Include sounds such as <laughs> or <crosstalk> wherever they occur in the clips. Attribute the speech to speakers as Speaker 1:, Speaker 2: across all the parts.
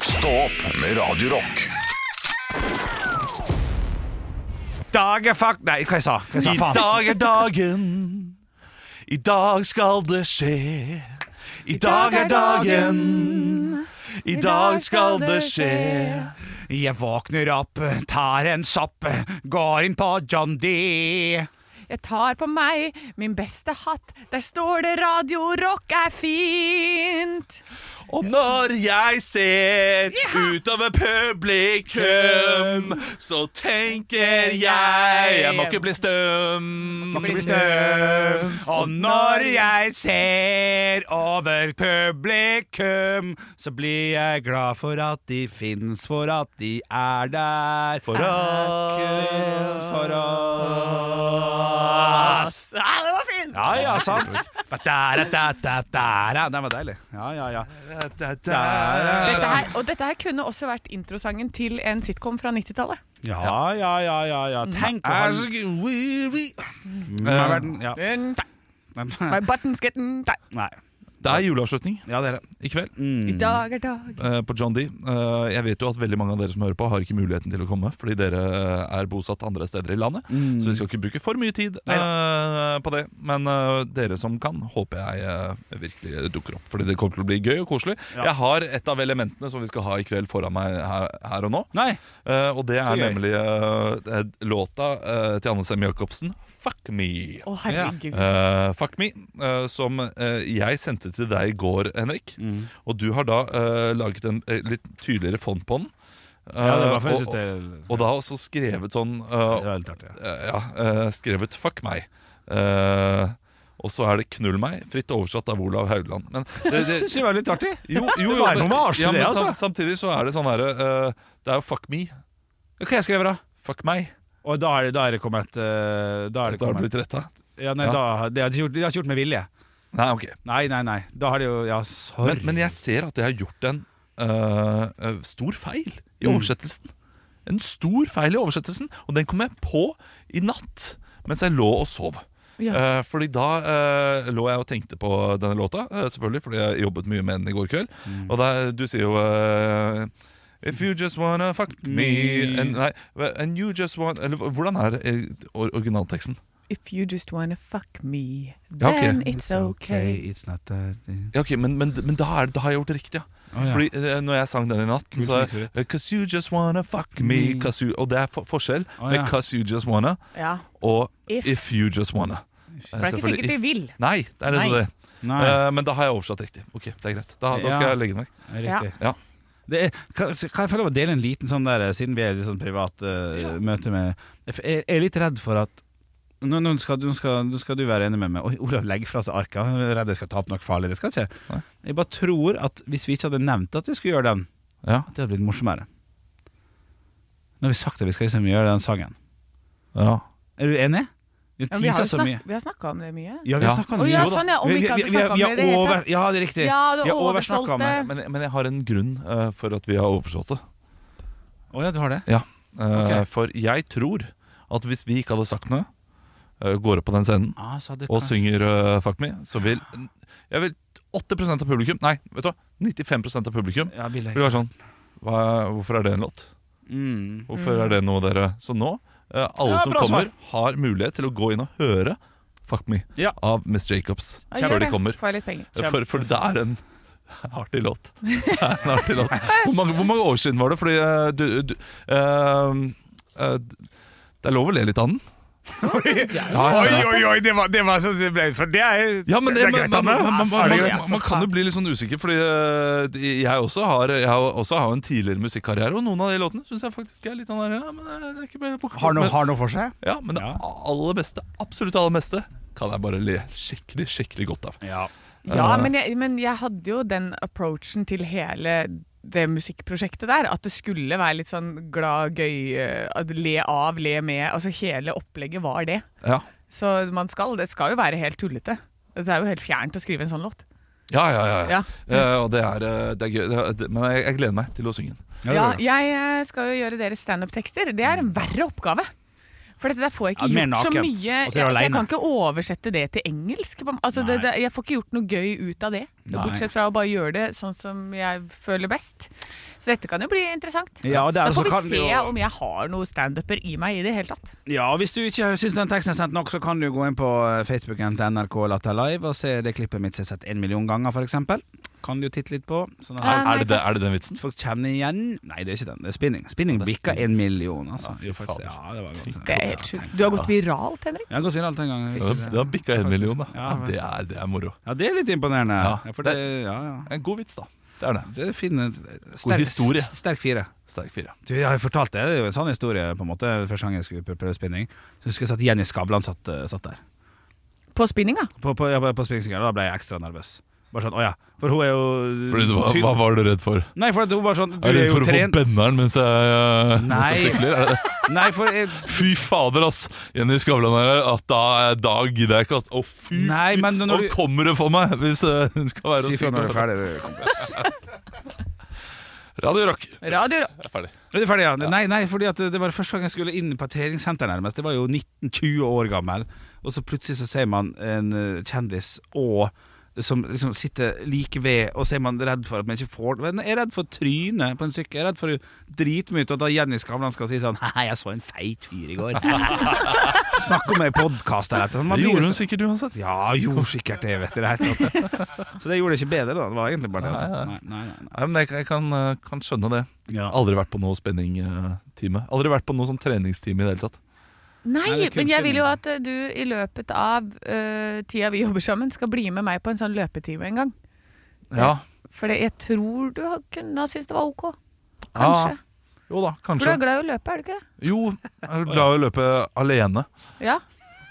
Speaker 1: Stå opp med Radio Rock.
Speaker 2: dag er fuck... Nei, hva jeg sa hva jeg? Sa,
Speaker 3: I
Speaker 2: faen.
Speaker 3: dag er dagen. I dag skal det skje. I dag er dagen. I dag skal det skje.
Speaker 2: Jeg våkner opp, tar en sopp, går inn på John D.
Speaker 4: Jeg tar på meg min beste hatt. Der står det 'Radio Rock er fint'.
Speaker 3: Og når jeg ser utover publikum, så tenker jeg Jeg må ikke bli stum.
Speaker 2: Blir støv. Og når jeg ser over publikum, så blir jeg glad for at de fins, for at de er der. For oss. For oss.
Speaker 4: Ja, det var fint!
Speaker 2: Ja, ja, sant. Da, da, da, da, da. Den var deilig. Ja, ja, ja.
Speaker 4: Dette her, og dette her kunne også vært introsangen til en sitcom fra 90-tallet.
Speaker 2: Ja, ja, ja, ja, ja.
Speaker 3: Mm.
Speaker 2: Tenk å ha
Speaker 3: Er så weary.
Speaker 2: Eh, verden, ja.
Speaker 4: Mm, ta-
Speaker 2: Nei.
Speaker 4: My buttons getting tight.
Speaker 3: Det er juleavslutning
Speaker 2: Ja, det er det.
Speaker 3: i kveld.
Speaker 4: I dag er dag.
Speaker 3: eh, på John D. Eh, jeg vet jo at veldig mange av dere som hører på, har ikke muligheten til å komme, fordi dere eh, er bosatt andre steder i landet. Så vi skal ikke bruke for mye tid eh, på det. Men eh, dere som kan, håper jeg eh, virkelig dukker opp, fordi det kommer til å bli gøy og koselig.
Speaker 2: Ja.
Speaker 3: Jeg har et av elementene som vi skal ha i kveld foran meg her, her og nå.
Speaker 2: Nei.
Speaker 3: Eh, og det er
Speaker 2: gøy.
Speaker 3: nemlig eh, eh, låta eh, til Anne Semme Jacobsen, 'Fuck Me'.
Speaker 4: Å, herregud.
Speaker 3: Eh, fuck me, eh, som eh, jeg sendte til deg i går, Henrik. Og du har da eh, laget en eh, litt tydeligere font på den.
Speaker 2: Ja, det var
Speaker 3: Eh,
Speaker 2: for jeg
Speaker 3: og,
Speaker 2: synes det
Speaker 3: og da også skrevet sånn
Speaker 2: det var
Speaker 3: eh,
Speaker 2: litt artig. ja.
Speaker 3: eh, Ja, eh, skrevet 'fuck meg'. Eh, og så er det 'knull meg', fritt oversatt av Olav Haugland. Men
Speaker 2: <laughs> Det syns jeg var litt artig. <laughs>
Speaker 3: jo, jo, jo,
Speaker 2: Det er noe med artig,
Speaker 3: ja,
Speaker 2: det,
Speaker 3: men
Speaker 2: altså.
Speaker 3: sam- Samtidig så er det sånn herre Det er jo 'fuck me',
Speaker 2: Hva jeg skrev da?
Speaker 3: 'fuck meg'.
Speaker 2: Og da er det, da er det kommet eh, Da er det
Speaker 3: Da har det
Speaker 2: kommet
Speaker 3: blitt retta.
Speaker 2: ja, nei,
Speaker 3: Ja.
Speaker 2: da, det har de gjort, de har ikke gjort med vilje.
Speaker 3: Nei, ok.
Speaker 2: Nei, nei, nei. Da har de jo Ja, sorry.
Speaker 3: Men, men jeg ser at jeg har gjort en øh, øh, stor feil i oversettelsen. En stor feil i oversettelsen, og den kom jeg på i natt mens jeg lå og sov.
Speaker 4: Ja.
Speaker 3: Eh, fordi da eh, lå jeg og tenkte på denne låta, eh, selvfølgelig, fordi jeg jobbet mye med den i går kveld. Og da, du sier jo eh, If you just wanna fuck me and, nei, and you just want Eller hvordan er eh, or- originalteksten?
Speaker 4: If you just wanna fuck me,
Speaker 3: Ja, ok.
Speaker 4: then it's okay.
Speaker 2: it's not that
Speaker 3: Ja, ok, Men, men, men da, er, det- da har jeg gjort det riktig, ja.
Speaker 2: Å, ja.
Speaker 3: Fordi eh, når jeg sang den i natt
Speaker 2: Kult
Speaker 3: så,
Speaker 2: snikskryt.
Speaker 3: eh, Cause you just wanna fuck me
Speaker 2: Mm.
Speaker 3: cause you, Og det er for forskjell
Speaker 2: Å, ja.
Speaker 3: med cause you just wanna
Speaker 4: Ja.
Speaker 3: Og if,
Speaker 4: If.
Speaker 3: you just wanna Eh,
Speaker 4: For det er ikke
Speaker 3: selvfølgelig
Speaker 4: sikkert de
Speaker 3: if-
Speaker 4: vil.
Speaker 3: Nei, det er det,
Speaker 4: Nei.
Speaker 3: det.
Speaker 2: Nei,
Speaker 3: Eh, Men da har jeg oversatt riktig Ok, det er greit Da, da skal
Speaker 2: Ja.
Speaker 3: jeg legge den vekk
Speaker 2: riktig.
Speaker 3: Ja.
Speaker 2: Det er, kan, kan jeg få lov å dele en liten sånn der, eh, siden vi er i litt sånn privat eh, møte med Jeg f- jeg er litt redd for at nå, nå, skal, du- nå, skal, nå skal du være enig med meg. Oi, Olav legger fra seg arka. Jeg er redd jeg skal ta opp noe farlig. Det skal jeg ikke.
Speaker 3: Nei.
Speaker 2: Jeg bare tror at hvis vi ikke hadde nevnt at vi skulle gjøre den,
Speaker 3: Ja,
Speaker 2: at det hadde blitt morsommere. Nå har vi sagt at vi skal liksom gjøre den sangen.
Speaker 3: ja
Speaker 2: Er du enig? Vi
Speaker 4: Ja, men vi har
Speaker 2: teaser
Speaker 4: jo
Speaker 2: så mye.
Speaker 4: snak- vi har snakka om det mye.
Speaker 2: Ja, vi har
Speaker 3: Ja.
Speaker 2: snakket om
Speaker 4: Å,
Speaker 2: det.
Speaker 4: ja,
Speaker 2: Jo da.
Speaker 4: sånn, ja, om vi ikke hadde
Speaker 2: har-
Speaker 4: snakket om det i det
Speaker 2: har
Speaker 4: hele
Speaker 2: over- Ja, det er riktig.
Speaker 4: Ja, du
Speaker 2: Vi har
Speaker 4: oversolgte.
Speaker 2: oversnakket om det.
Speaker 3: men, men jeg har en grunn eh, for at vi har oversatt det
Speaker 2: Å ja, du har det?
Speaker 3: Eh,
Speaker 2: Ok.
Speaker 3: For jeg tror at hvis vi ikke hadde sagt noe eh, Går opp på den scenen
Speaker 2: Ah, så hadde
Speaker 3: og
Speaker 2: kanskje-
Speaker 3: synger eh, Fuck Me, så vil Jeg vil 80 av publikum Nei, vet du hva? 95 av publikum
Speaker 2: Ja, Bille.
Speaker 3: vil være sånn hva, Hvorfor er det en låt?
Speaker 2: Mm.
Speaker 3: Hvorfor er det noe dere Så nå, eh, alle
Speaker 2: Ja,
Speaker 3: som
Speaker 2: bra
Speaker 3: kommer, har mulighet til å gå inn og høre Fuck Me
Speaker 2: Ja.
Speaker 3: av Miss Jacobs
Speaker 4: Ja, gjør
Speaker 3: før de
Speaker 4: det.
Speaker 3: kommer. Eh,
Speaker 4: Får jeg litt penger.
Speaker 2: Kjempe-
Speaker 3: For, for det er en artig
Speaker 2: <laughs>
Speaker 3: låt. Det er en artig låt. Hvor, mange, hvor mange år siden var det? Fordi eh, du, du eh, eh, Det er lov å le litt
Speaker 2: <laughs>
Speaker 3: av den. Ja, jeg
Speaker 2: Oi,
Speaker 3: skjønner.
Speaker 2: oi, oi, det var, det var sånn det ble For det er
Speaker 3: Ja, men,
Speaker 2: det
Speaker 3: det,
Speaker 2: er
Speaker 3: men,
Speaker 2: greit,
Speaker 3: men,
Speaker 2: Anne.
Speaker 3: men, man,
Speaker 2: Ja, så er
Speaker 3: man,
Speaker 2: det
Speaker 3: man,
Speaker 2: greit.
Speaker 3: man kan jo bli litt sånn usikker, fordi øh, jeg også har, jeg har, også har en tidligere musikkarriere, og noen av de låtene syns jeg faktisk er litt sånn der, ja, men det er- det er ikke bare på-
Speaker 2: Har noe,
Speaker 3: men-
Speaker 2: har noe for seg?
Speaker 3: Ja, men det
Speaker 2: Ja.
Speaker 3: aller beste, absolutt aller meste, kan jeg bare le skikkelig, skikkelig godt av.
Speaker 2: Ja.
Speaker 4: Ja, men jeg, men jeg hadde jo den approachen til hele det musikkprosjektet der. At det skulle være litt sånn glad, gøy, eh, at le av, le med. Altså hele opplegget var det.
Speaker 3: Ja,
Speaker 4: Så man skal, det skal jo være helt tullete. Det er jo helt fjernt å skrive en sånn låt.
Speaker 3: ja, ja. ja, ja.
Speaker 4: Ja.
Speaker 3: Eh, og det er, eh, det er gøy, det er, det, men jeg, jeg gleder meg til å synge den.
Speaker 2: det
Speaker 4: Ja,
Speaker 2: gjør
Speaker 4: jeg eh, skal jo gjøre deres standup-tekster. Det er en verre oppgave. For dette der får jeg ikke
Speaker 2: Ja, mer
Speaker 4: gjort så
Speaker 2: nakent.
Speaker 4: mye.
Speaker 2: Og så er du
Speaker 4: Ja, altså,
Speaker 2: alene.
Speaker 4: jeg kan ikke oversette det til engelsk. på- Altså, det,
Speaker 2: Nei.
Speaker 4: det, jeg får ikke gjort noe gøy ut av det.
Speaker 2: Nei.
Speaker 4: Bortsett fra å bare gjøre det sånn som jeg føler best. Så dette kan jo bli interessant.
Speaker 2: Ja, og der
Speaker 4: da
Speaker 2: så
Speaker 4: får vi
Speaker 2: altså kan
Speaker 4: se
Speaker 2: vi jo-
Speaker 4: om jeg har noen standuper i meg i det hele tatt.
Speaker 2: Ja, og Hvis du ikke syns den teksten er sendt nok, så kan du gå inn på eh, Facebooken til NRK Latter Live og se det klippet mitt som er sett en million ganger, for eksempel Kan du jo titte litt på. Sånn at
Speaker 3: Er, er, det, er det den vitsen?
Speaker 2: folk kjenner igjen Nei, det er ikke den. Det er spinning. Spinning
Speaker 3: Det er
Speaker 2: bikka
Speaker 3: spinning.
Speaker 2: en million, altså.
Speaker 3: Ja, jo,
Speaker 2: Fy
Speaker 3: faktisk.
Speaker 2: fader. Ja, det var godt.
Speaker 4: Det er helt sjukt. Du har gått viralt, Henrik.
Speaker 2: Jeg har gått viralt en gang.
Speaker 3: Ja, Det har bikka en million, da.
Speaker 2: Ja,
Speaker 3: Ja, det, er, det er moro.
Speaker 2: Ja, det er litt imponerende.
Speaker 3: Ja.
Speaker 2: Ja, for det, ja, ja.
Speaker 3: En god vits, da. Det er det.
Speaker 2: Det er fin sterk,
Speaker 3: historie.
Speaker 2: s- Sterk fire.
Speaker 3: Sterk fire.
Speaker 2: Du, jeg har jo fortalt det, det er jo en sann historie, på en måte. Første gang jeg skulle prø- prøve spinning. Så husker jeg at Jenny Skavlan satt, eh, satt der.
Speaker 4: På spinninga.
Speaker 2: På, på, ja, på, på spinningsykkelen. Da ble jeg ekstra nervøs. Bare sånn, å ja. For hun er jo
Speaker 3: Fordi det var, hva var du redd for?
Speaker 2: Nei, for at hun bare sånn Du
Speaker 3: Er
Speaker 2: er
Speaker 3: du redd
Speaker 2: jo
Speaker 3: for å få
Speaker 2: trent.
Speaker 3: benneren mens jeg, eh, mens jeg
Speaker 2: Nei.
Speaker 3: sykler? Er det det?
Speaker 2: Nei, for eh,
Speaker 3: <laughs>
Speaker 2: jeg,
Speaker 3: Fy fader, ass! Jenny Skavlan er her. At da, eh, da gidder jeg ikke, ass. Å, fy!
Speaker 2: Nei, men når
Speaker 3: Nå
Speaker 2: du-
Speaker 3: kommer det for meg! Hvis eh, hun skal være
Speaker 2: Si fra når du er ferdig, du, kompis.
Speaker 3: Radio Rock.
Speaker 4: Radio
Speaker 3: Jeg er ferdig.
Speaker 2: Er du ferdig, ja? Nei, nei, fordi at det var første gang jeg skulle inn på et treningssenter nærmest. Det var jo 19-20 år gammel, og så plutselig så ser man en eh, kjendis og som liksom sitter like ved, og så er man redd for at man ikke får det. Jeg er redd for trynet på en sykkel. Jeg er redd for dritmye til at da Jenny Skavlan skal si sånn <laughs> Hei, jeg så en feit fyr i
Speaker 3: <laughs>
Speaker 2: går. Snakk om ei podkast her. etter. Man
Speaker 3: Det
Speaker 2: blir
Speaker 3: gjorde
Speaker 2: jo
Speaker 3: hun sikkert uansett.
Speaker 2: ja, gjorde sikkert det, vet du. Det er helt
Speaker 3: <laughs>
Speaker 2: sant, det. Så det gjorde det ikke bedre, da. Det var egentlig bare det.
Speaker 3: Nei,
Speaker 2: Altså.
Speaker 3: nei.
Speaker 2: Nei, nei, nei, nei.
Speaker 3: Nei, men jeg, jeg kan, eh, kan skjønne det.
Speaker 2: Ja.
Speaker 3: Aldri vært på noe spenningtime. Aldri vært på noe sånn treningstime i det hele tatt.
Speaker 2: Nei,
Speaker 4: Nei,
Speaker 2: det er
Speaker 4: men jeg vil jo
Speaker 2: kunstspinning.
Speaker 4: at eh, du i løpet av eh, tida vi jobber sammen, skal bli med meg på en sånn løpetime en gang.
Speaker 3: Ja,
Speaker 4: For det- jeg tror du har- kunne ha syntes det var ok. Kanskje.
Speaker 3: Jo da,
Speaker 4: For du
Speaker 3: kanskje.
Speaker 4: er glad i å løpe, er du ikke det?
Speaker 3: Jo, jeg er glad i å løpe alene.
Speaker 4: Ja.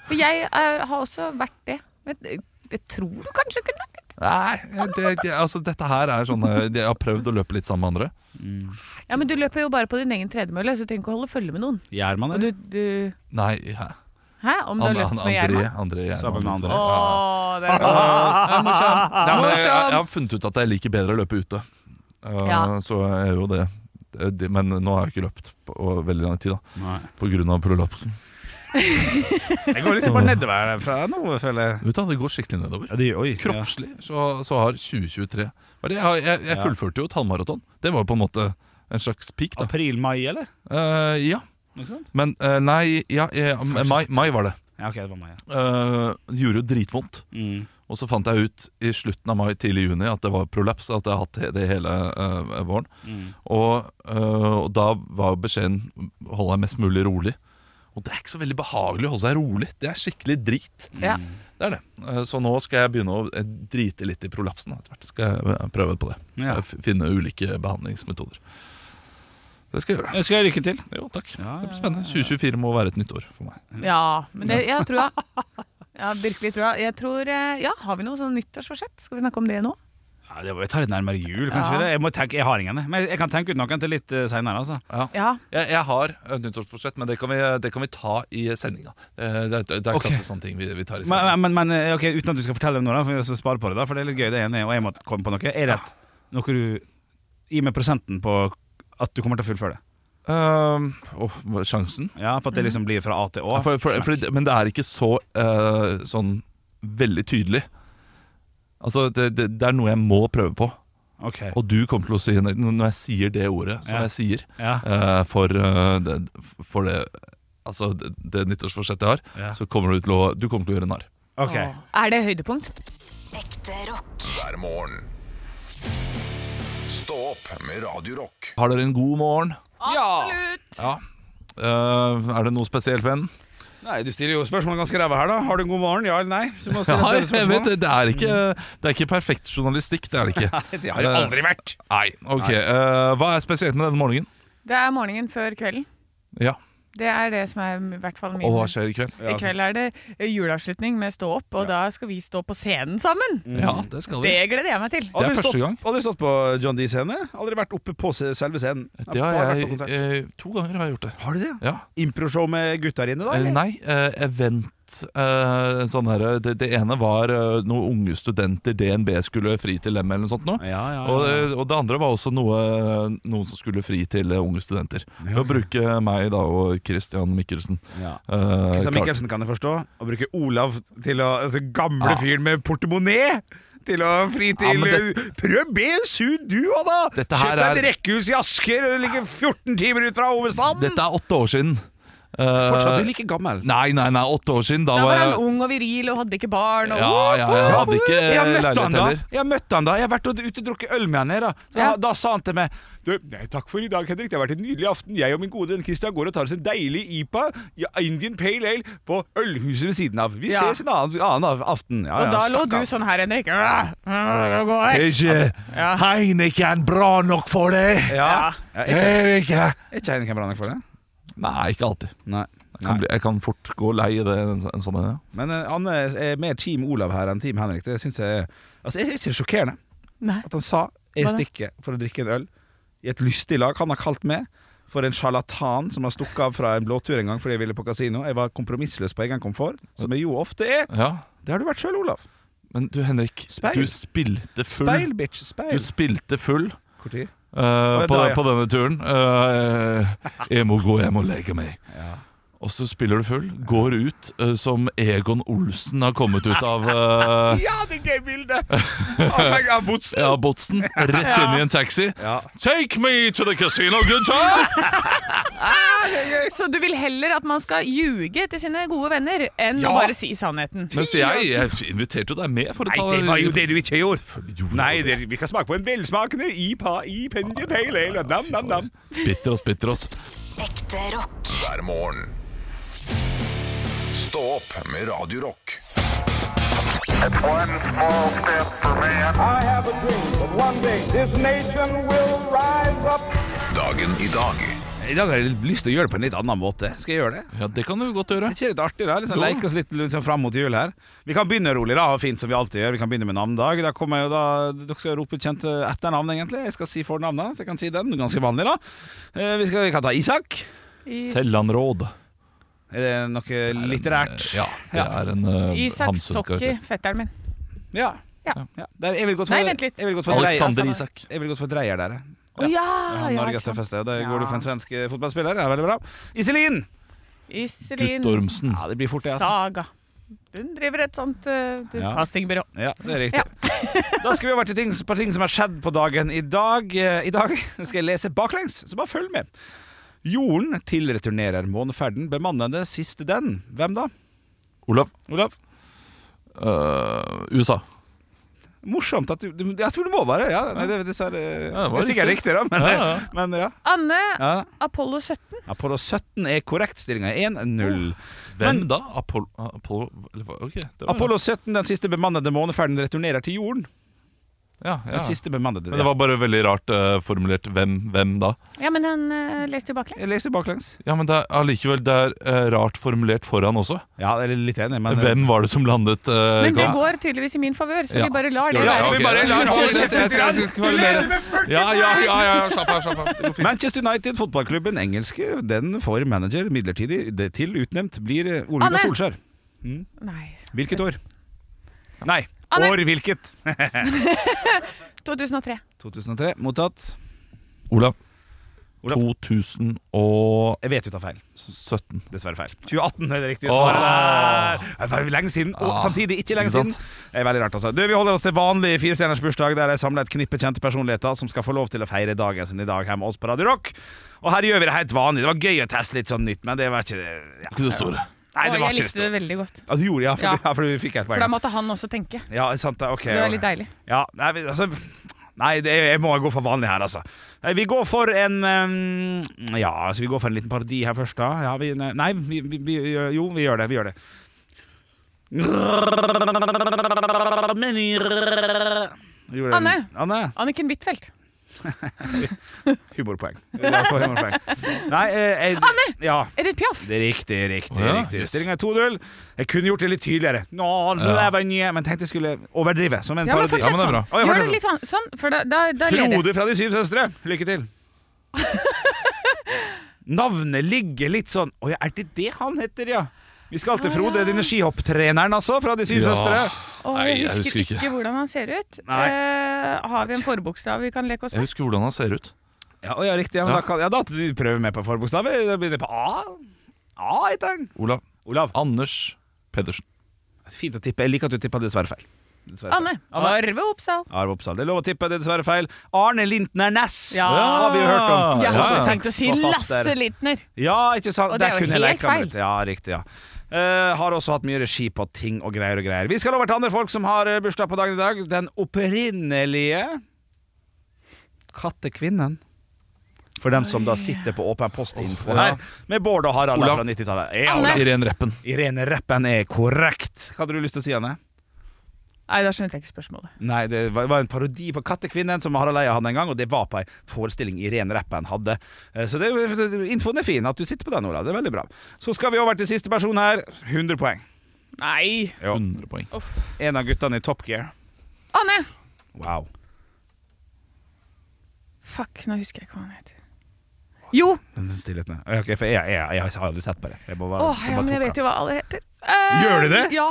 Speaker 4: For jeg er, har også vært det. Men eh, jeg tror du kanskje kunne vært det.
Speaker 3: Nei, det, det, altså dette her er sånn eh, Jeg har prøvd å løpe litt sammen med andre.
Speaker 2: Mm.
Speaker 4: Ja, men du løper jo bare på din egen tredemølle, så du trenger ikke å holde følge med noen.
Speaker 2: Gjør man
Speaker 4: Og
Speaker 2: det?
Speaker 4: du, du
Speaker 3: Nei, ja.
Speaker 4: Hæ? Om du har
Speaker 3: An-
Speaker 4: løpt
Speaker 3: an-
Speaker 4: med
Speaker 3: André,
Speaker 4: Gjerman?
Speaker 3: André Gjerman,
Speaker 2: Sammen med
Speaker 3: liksom.
Speaker 2: andre.
Speaker 4: Å,
Speaker 3: Ja.
Speaker 4: det er bra. Det er
Speaker 3: Nei,
Speaker 4: morsomt.
Speaker 3: men jeg, jeg,
Speaker 4: morsom.
Speaker 3: jeg har funnet ut at jeg liker bedre å løpe ute. Eh,
Speaker 4: altså. Ja.
Speaker 3: Så jeg er jo det. Eh, det- Men nå har jeg ikke løpt på over veldig lang tid, da.
Speaker 2: Nei.
Speaker 3: På grunn av prolapsen.
Speaker 2: Det går liksom bare nedover fra nå, føler jeg.
Speaker 3: Vet du, det går skikkelig nedover.
Speaker 2: Ja, det, oi, ja.
Speaker 3: Kroppslig så, så har 2023 Hva er det? Jeg, har- jeg, jeg
Speaker 2: Ja.
Speaker 3: fullførte jo et halvmaraton. Det var jo på en måte en slags peak, da.
Speaker 2: April-mai, eller?
Speaker 3: Eh, ja.
Speaker 2: Noe sånt?
Speaker 3: Men eh, nei ja, eh, mai, mai var det.
Speaker 2: Ja, ok, det var mai. Ja.
Speaker 3: Eh, det gjorde jo dritvondt.
Speaker 2: Mm.
Speaker 3: Og så fant jeg ut i slutten av mai, tidlig i juni, at det var prolaps. At jeg har hatt det hele eh, våren.
Speaker 2: Mm.
Speaker 3: Og, eh, og da var beskjeden hold deg mest mulig rolig. Og det er ikke så veldig behagelig å holde seg rolig. Det er skikkelig drit.
Speaker 4: Ja.
Speaker 3: Det er det. Eh, Så nå skal jeg begynne å eh, drite litt i prolapsen. Etter hvert skal jeg eh, prøve på det.
Speaker 2: Ja.
Speaker 3: Eh, f- Finne ulike behandlingsmetoder. Det skal jeg gjøre.
Speaker 2: Jeg ønsker deg lykke til.
Speaker 3: Jo, takk.
Speaker 2: Ja,
Speaker 3: Det blir spennende. 2024 må være et nytt år for meg.
Speaker 4: Ja, men det, jeg har trua. <laughs> Jeg har virkelig trua. Jeg tror, eh, ja, har vi noe sånn nyttårsforsett? Skal vi snakke om det nå?
Speaker 2: Ja, det var, jeg tar litt nærmere jul, kanskje.
Speaker 4: Ja.
Speaker 2: det? Jeg, må tenke, jeg har ingen, jeg. men jeg kan tenke ut noen til litt uh, seinere. Altså.
Speaker 3: Ja.
Speaker 4: Ja.
Speaker 3: Jeg, jeg har et nyttårsforsett, men det kan vi, det kan vi ta i sendinga. Eh, Det, er- det er
Speaker 2: Ok.
Speaker 3: klasse sånne ting vi, vi tar i sendinga.
Speaker 2: Men, men, men eh, ok, Uten at du skal fortelle noe, da, for vi skal spare på det, da, for det er litt gøy. det ene er, Og jeg må komme på noe. Er det et- noe du Gi meg prosenten på at du kommer til å fullføre det.
Speaker 3: Ehm, åh, hva- sjansen?
Speaker 2: Ja, For at det liksom blir fra A til Å.
Speaker 3: Ja, for, for, fordi det- men det er ikke så eh, sånn veldig tydelig. Altså, det, det, det er noe jeg må prøve på.
Speaker 2: Ok.
Speaker 3: Og du kommer til å si Når når jeg sier det ordet som
Speaker 2: Ja.
Speaker 3: jeg sier
Speaker 2: Ja.
Speaker 3: eh, for, eh, det, for det Altså, det, det nyttårsforsettet jeg har,
Speaker 2: Ja.
Speaker 3: så kommer du til å, du kommer til å gjøre narr.
Speaker 2: Ok.
Speaker 4: Åh. Er det høydepunkt?
Speaker 5: Ekte rock.
Speaker 1: hver morgen. Stå opp med Radio Rock.
Speaker 3: Har dere en god morgen?
Speaker 4: Absolutt!
Speaker 3: Ja. Eh, er det noe spesielt, venn?
Speaker 2: Nei, Du stiller jo spørsmål ganske ræva her, da. Har du en god morgen? Ja eller nei? Så må du stille
Speaker 3: Ja,
Speaker 2: et
Speaker 3: jeg vet,
Speaker 2: spørsmål.
Speaker 3: det, det, er ikke, det er ikke perfekt journalistikk, det er det ikke.
Speaker 2: Det har det aldri vært.
Speaker 3: <laughs> Nei, ok. eh, hva er spesielt med denne morgenen?
Speaker 4: Det er morgenen før kvelden.
Speaker 3: Ja,
Speaker 4: Det er det som er i hvert fall min
Speaker 3: Og hva skjer i kveld?
Speaker 4: I kveld er det eh, juleavslutning med Stå opp, og da skal vi stå på scenen sammen.
Speaker 3: Ja, det skal vi.
Speaker 4: Det gleder jeg meg til.
Speaker 3: Det er
Speaker 2: Aldri
Speaker 3: første
Speaker 2: stått,
Speaker 3: gang.
Speaker 2: Aldri stått på John D-scene. Aldri vært oppe på se- selve scenen.
Speaker 3: Det
Speaker 2: Bare
Speaker 3: har
Speaker 2: vært på
Speaker 3: jeg
Speaker 2: konsert.
Speaker 3: eh, To ganger har jeg gjort det.
Speaker 2: Har du det?
Speaker 3: Ja.
Speaker 2: Improshow med gutta inne, da?
Speaker 3: Eh,
Speaker 2: eller?
Speaker 3: nei, eh, event sett eh, sånn her, det, det ene var eh, noen unge studenter DNB skulle fri til dem, eller noe sånt. Nå.
Speaker 2: Ja, ja,
Speaker 3: Og,
Speaker 2: ja.
Speaker 3: eh, og det andre var også noe, noen som skulle fri til eh, unge studenter. Ved å bruke meg da og Christian Mikkelsen.
Speaker 2: Ja.
Speaker 3: Eh,
Speaker 2: Christian
Speaker 3: klart.
Speaker 2: Michelsen kan jeg forstå. Å bruke Olav til å altså, Gamle fyren med portemonee! Til å fri
Speaker 3: Ja,
Speaker 2: til
Speaker 3: men det-
Speaker 2: eh, Prøv BSU, du òg, da!
Speaker 3: Dette her
Speaker 2: Kjøp deg et
Speaker 3: er-
Speaker 2: rekkehus i Asker, og det ligger 14 timer ut fra hovedstaden!
Speaker 3: Dette er åtte år siden. Eh,
Speaker 2: Fortsatt du er like gammel.
Speaker 3: Nei, nei, nei, åtte år siden. Da,
Speaker 4: Da var
Speaker 3: jeg
Speaker 4: han ung og viril og hadde ikke barn. Og,
Speaker 3: Ja, ja, jeg hadde ikke eh,
Speaker 2: Jeg møtte
Speaker 3: leilighet
Speaker 2: han da
Speaker 3: heller.
Speaker 2: Jeg har møtt han da Jeg har vært ute og drukket øl med han her da Da,
Speaker 4: Ja.
Speaker 2: da sa han til meg du, nei, Takk for i dag Henrik Det har vært en nydelig aften Jeg og min gode venn Kristian går og tar oss en deilig IPA ja, Indian Pale Ale På ølhuset ved siden av Vi
Speaker 4: Ja.
Speaker 2: ses en annen, annen aften ja,
Speaker 4: og
Speaker 2: ja,
Speaker 4: da lå
Speaker 2: stakkars.
Speaker 4: du sånn her, Henrik. «Åh, nå går jeg».
Speaker 3: Ikke
Speaker 4: Ja.
Speaker 3: Heineken bra nok for deg?
Speaker 2: Ja, ja Er
Speaker 4: Ja.
Speaker 2: ikke-
Speaker 3: Er ikke
Speaker 2: er ikke Heineken bra nok for det?
Speaker 3: Nei, ikke alltid.
Speaker 2: Nei,
Speaker 3: Jeg kan, bli, jeg kan fort gå lei i det. En, så- en sånn, ja.
Speaker 2: Men eh, han er er mer Team Olav her enn Team Henrik Det synes jeg Altså, det er ikke sjokkerende
Speaker 4: Nei.
Speaker 2: At han sa Jeg
Speaker 4: Hva da?
Speaker 2: stikker for å drikke en øl I et lystig lag Han har kalt meg For en sjarlatan Som har stukket av fra en blåtur en gang Fordi jeg ville på kasino Jeg var kompromissløs på egen komfort Som jeg jo ofte er
Speaker 3: ja.
Speaker 2: Det har du vært selv, Olav
Speaker 3: Men du, Henrik,
Speaker 2: Speil.
Speaker 3: du spilte full.
Speaker 2: Speil, bitch, speil
Speaker 3: Du spilte full
Speaker 2: Hvor tid?
Speaker 3: eh,
Speaker 2: det
Speaker 3: på,
Speaker 2: da, ja.
Speaker 3: på denne turen. Eh, jeg må gå hjem og legge meg.
Speaker 2: Ja.
Speaker 3: Og så spiller du full, går ut eh, som Egon Olsen har kommet ut av eh,
Speaker 2: Ja, det er gøy <laughs> bildet Av botsen
Speaker 3: ja, botsen. Rett inn i en taxi.
Speaker 2: Ja,
Speaker 3: Take me to the casino, good time!
Speaker 4: Så du vil heller at man skal ljuge til sine gode venner enn
Speaker 2: Ja.
Speaker 4: å bare si sannheten?
Speaker 3: Mens jeg, jeg inviterte jo deg med for å
Speaker 2: Nei,
Speaker 3: ta
Speaker 2: det var jo det du ikke gjorde
Speaker 3: Selvfølgelig gjorde
Speaker 2: Nei,
Speaker 3: jeg
Speaker 2: det, vi kan smake på en velsmakende IPA I Pendia Pale Ale Nam, nam, nam
Speaker 3: Bitter oss, bitter oss.
Speaker 5: Ekte rock.
Speaker 1: hver morgen. Stå opp med Radio Rock.
Speaker 6: One small step for man.
Speaker 7: I have a dream that one day this nation will rise up.
Speaker 1: Dagen i dag
Speaker 2: I dag har jeg lyst til å gjøre det på en litt annen måte Skal jeg gjøre det?
Speaker 3: Ja, det kan du godt gjøre.
Speaker 2: Er ikke det litt artig? da? Liksom,
Speaker 3: Jo.
Speaker 2: leke oss litt liksom, fram mot jul her. Vi kan begynne rolig, da, og fint som vi alltid gjør. Vi kan begynne med navndag. Da kommer jo da, Dere skal rope ut kjente etternavn, egentlig. Jeg skal si fornavnet, så jeg kan si den. Ganske vanlig, da. Eh, Vi, skal, vi kan ta Isak.
Speaker 4: Is-
Speaker 3: Sellandråd. Eh,
Speaker 2: Er det noe litterært?
Speaker 3: Ja, det
Speaker 2: Ja.
Speaker 3: er en uh,
Speaker 4: Isak Sokki, fetteren min.
Speaker 2: Ja.
Speaker 4: Ja.
Speaker 2: Ja. Der, jeg vil godt få,
Speaker 4: Nei, vent litt.
Speaker 2: Jeg vil godt få dreier.
Speaker 3: Alexander Isak.
Speaker 2: Jeg vil godt få dreier der. jeg.
Speaker 4: Å ja!
Speaker 2: Han
Speaker 4: ja,
Speaker 2: Norges
Speaker 4: ikke sant.
Speaker 2: tøffeste. Og der går
Speaker 4: Ja.
Speaker 2: du for en svensk eh, fotballspiller. Det er veldig bra. Iselin!
Speaker 4: Iselin
Speaker 3: Guttormsen.
Speaker 2: Ja, det blir fort, det, altså.
Speaker 4: Saga. Hun driver et sånt eh, du,
Speaker 2: Ja.
Speaker 4: castingbyrå.
Speaker 2: Ja, det er riktig. <laughs> da skal vi over til ting, på ting som har skjedd på dagen i dag. Eh, I dag <laughs> skal jeg lese baklengs, så bare følg med. Jorden tilreturnerer måneferden, bemannende siste den. Hvem da?
Speaker 3: Olav.
Speaker 2: Olav?
Speaker 3: øh, USA.
Speaker 2: Morsomt at du, du Jeg tror det må være ja, nei, det, er dessverre,
Speaker 3: Ja, det
Speaker 2: det
Speaker 3: var
Speaker 2: er sikkert
Speaker 3: riktig.
Speaker 2: riktig, da. Men,
Speaker 3: Ja, ja.
Speaker 2: <laughs> men ja.
Speaker 4: Anne,
Speaker 2: ja.
Speaker 4: Apollo 17.
Speaker 2: Apollo 17 er korrekt. Stillinga er 1-0.
Speaker 3: Hvem da? Apollo, Apollo eller hva- Ok, det var
Speaker 2: Apollo 17, den siste bemannede måneferden, returnerer til jorden.
Speaker 3: ja, ja.
Speaker 2: Den siste bemannede.
Speaker 3: Men det var bare veldig rart eh, formulert. Hvem, hvem da?
Speaker 4: Ja, men han eh, leste jo baklengs.
Speaker 2: Jeg leser baklengs.
Speaker 3: Ja, men det er allikevel det er eh, rart formulert foran også.
Speaker 2: Ja, jeg er litt enig, men
Speaker 3: Hvem var det som landet eh,
Speaker 4: Men det
Speaker 3: ga-
Speaker 4: går tydeligvis i min favør, så
Speaker 3: Ja.
Speaker 4: vi bare lar
Speaker 3: Ja,
Speaker 4: det
Speaker 2: Ja,
Speaker 4: være.
Speaker 2: så
Speaker 3: ok.
Speaker 2: vi bare lar
Speaker 3: Jeg skal-
Speaker 2: holde
Speaker 3: jeg skal- jeg skal ikke
Speaker 2: leder
Speaker 3: formulere. Ja, ja, ja, ja, ja, slapp av, slapp av. Det går fint.
Speaker 2: Manchester United, fotballklubben engelske, den får manager midlertidig det til utnevnt blir eh, Ole
Speaker 4: Anne!
Speaker 2: Gunnar Solskjær.
Speaker 4: Nei.
Speaker 2: Hvilket år? Nei,
Speaker 4: Anne!
Speaker 2: år hvilket?
Speaker 4: 2003.
Speaker 2: 2003, mottatt.
Speaker 3: Olav.
Speaker 2: Olav.
Speaker 3: 2017.
Speaker 2: Jeg vet du tar feil. Dessverre feil. 2018 er det riktige
Speaker 3: Åh.
Speaker 2: svaret. der. Det var lenge siden, og
Speaker 3: Ah.
Speaker 2: samtidig ikke lenge
Speaker 3: Ikke sant?
Speaker 2: siden. Det er veldig rart, altså. Du, vi holder oss til vanlig firestjerners bursdag, der jeg samler et knippe kjente personligheter som skal få lov til å feire dagen sin i dag her med oss på Radio Rock. Og her gjør vi det helt vanlig. Det var gøy å teste litt sånn nytt, men det var ikke det ja.
Speaker 3: Ikke det store.
Speaker 2: Nei, det
Speaker 4: Å,
Speaker 2: var ikke
Speaker 4: jeg
Speaker 2: det
Speaker 4: likte det
Speaker 2: store.
Speaker 4: veldig godt.
Speaker 2: Ja, du gjorde det, ja, for,
Speaker 4: Ja.
Speaker 2: ja. for du fikk et
Speaker 4: For da
Speaker 2: poeng.
Speaker 4: måtte han også tenke.
Speaker 2: Ja, sant det. Ok.
Speaker 4: Det var
Speaker 2: ok.
Speaker 4: litt deilig.
Speaker 2: Ja, nei, vi- altså Nei, det, jeg må gå for vanlig her, altså. Nei, Vi går for en ehm, Ja, altså, vi går for en liten parodi her først, da. Ja, vi, nei, vi, vi, vi, gjør- jo, vi gjør det. Vi gjør det. Gjorde den.
Speaker 4: Anne.
Speaker 2: Anne.
Speaker 4: Anniken Huitfeldt. <laughs>
Speaker 2: Humorpoeng. Ja, for humorpoeng. Nei, eh, jeg, Anne! Ja.
Speaker 4: Edith Piaf.
Speaker 2: Det er riktig, riktig.
Speaker 3: Å ja,
Speaker 2: riktig.
Speaker 3: yes.
Speaker 2: Stillingen er 2-0. Jeg kunne gjort det litt tydeligere. Nå, det
Speaker 3: Ja.
Speaker 2: var nye, men tenkte jeg skulle overdrive. Som en
Speaker 4: Ja, men
Speaker 2: parodi.
Speaker 3: Ja,
Speaker 4: fortsett
Speaker 3: men det er bra.
Speaker 4: sånn.
Speaker 2: Oi,
Speaker 4: Gjør det
Speaker 2: fortsett.
Speaker 4: litt vanskelig sånn, for da, da, da ler jeg.
Speaker 2: Frode fra De syv søstre, lykke
Speaker 8: <laughs>
Speaker 2: til. Navnet ligger litt sånn Å ja, er det det han heter, ja? Vi skal til
Speaker 8: Ah.
Speaker 2: Frode, denne skihopptreneren altså, fra De syv
Speaker 3: Ja.
Speaker 2: søstre.
Speaker 8: Åh,
Speaker 3: Nei,
Speaker 8: jeg
Speaker 3: jeg
Speaker 8: husker
Speaker 3: husker
Speaker 8: ikke.
Speaker 3: ikke.
Speaker 8: hvordan han ser ut.
Speaker 2: Nei.
Speaker 8: Eh, har vi en forbokstav vi kan leke oss
Speaker 3: Jeg
Speaker 8: med?
Speaker 3: husker hvordan han ser ut.
Speaker 2: Ja, og ja riktig. Ja, men
Speaker 3: Ja.
Speaker 2: Da, kan, ja, da prøver vi med på forbokstaver. Da begynner vi på A. A heter han.
Speaker 3: Olav.
Speaker 2: Olav.
Speaker 3: Anders Pedersen.
Speaker 2: Fint å tippe. Jeg liker at du tippa dessverre feil. Dessverre feil.
Speaker 8: Anne. Arve Oppsal.
Speaker 2: Arve Oppsal. Det er lov å tippe, det er dessverre feil. Arne Lintner Næss
Speaker 8: Ja.
Speaker 2: har vi jo hørt om.
Speaker 8: Jeg
Speaker 3: Ja,
Speaker 8: hadde
Speaker 3: ja.
Speaker 8: tenkt å si
Speaker 2: Tekstforfatter.
Speaker 8: Lasse Littner.
Speaker 2: Ja, ikke sant?
Speaker 8: Og det er
Speaker 2: Der
Speaker 8: jo
Speaker 2: kunne jeg
Speaker 8: helt
Speaker 2: leka meg
Speaker 8: feil.
Speaker 2: litt. Ja, riktig, ja. Eh, har også hatt mye regi på ting og greier og greier. Vi skal over til andre folk som har eh, bursdag på dagen i dag. Den opprinnelige kattekvinnen. For dem som da sitter på Åpen post-info
Speaker 3: Åh, ja.
Speaker 2: her, med Bård og Harald
Speaker 3: Olav.
Speaker 2: fra 90-tallet. Ja,
Speaker 8: Anne.
Speaker 2: Olav.
Speaker 3: Irene Reppen.
Speaker 2: Irene Reppen er korrekt. Hva hadde du lyst til å si, Anne?
Speaker 8: Nei, da skjønte jeg ikke spørsmålet.
Speaker 2: Nei, det var, var en parodi på Kattekvinnen som Harald Eia hadde en gang, og det var på ei forestilling Irene Reppen hadde. Eh, Så det, infoen er fin, at du sitter på den, Ola. Det er veldig bra. Så skal vi over til siste person her. 100 poeng.
Speaker 8: Nei!
Speaker 2: Jo.
Speaker 3: 100 poeng.
Speaker 2: En av guttene i Top Gear.
Speaker 8: Anne!
Speaker 2: Wow.
Speaker 8: Fuck, nå husker jeg ikke hva han heter. Jo!
Speaker 2: Den stillheten. er- Ok, for jeg, jeg, jeg, har aldri sett på det. Jeg bare,
Speaker 8: Åh,
Speaker 2: jeg
Speaker 8: ja,
Speaker 2: bare
Speaker 8: men jeg
Speaker 2: tok
Speaker 8: vet jo hva alle heter.
Speaker 2: Gjør du det?
Speaker 8: Ja.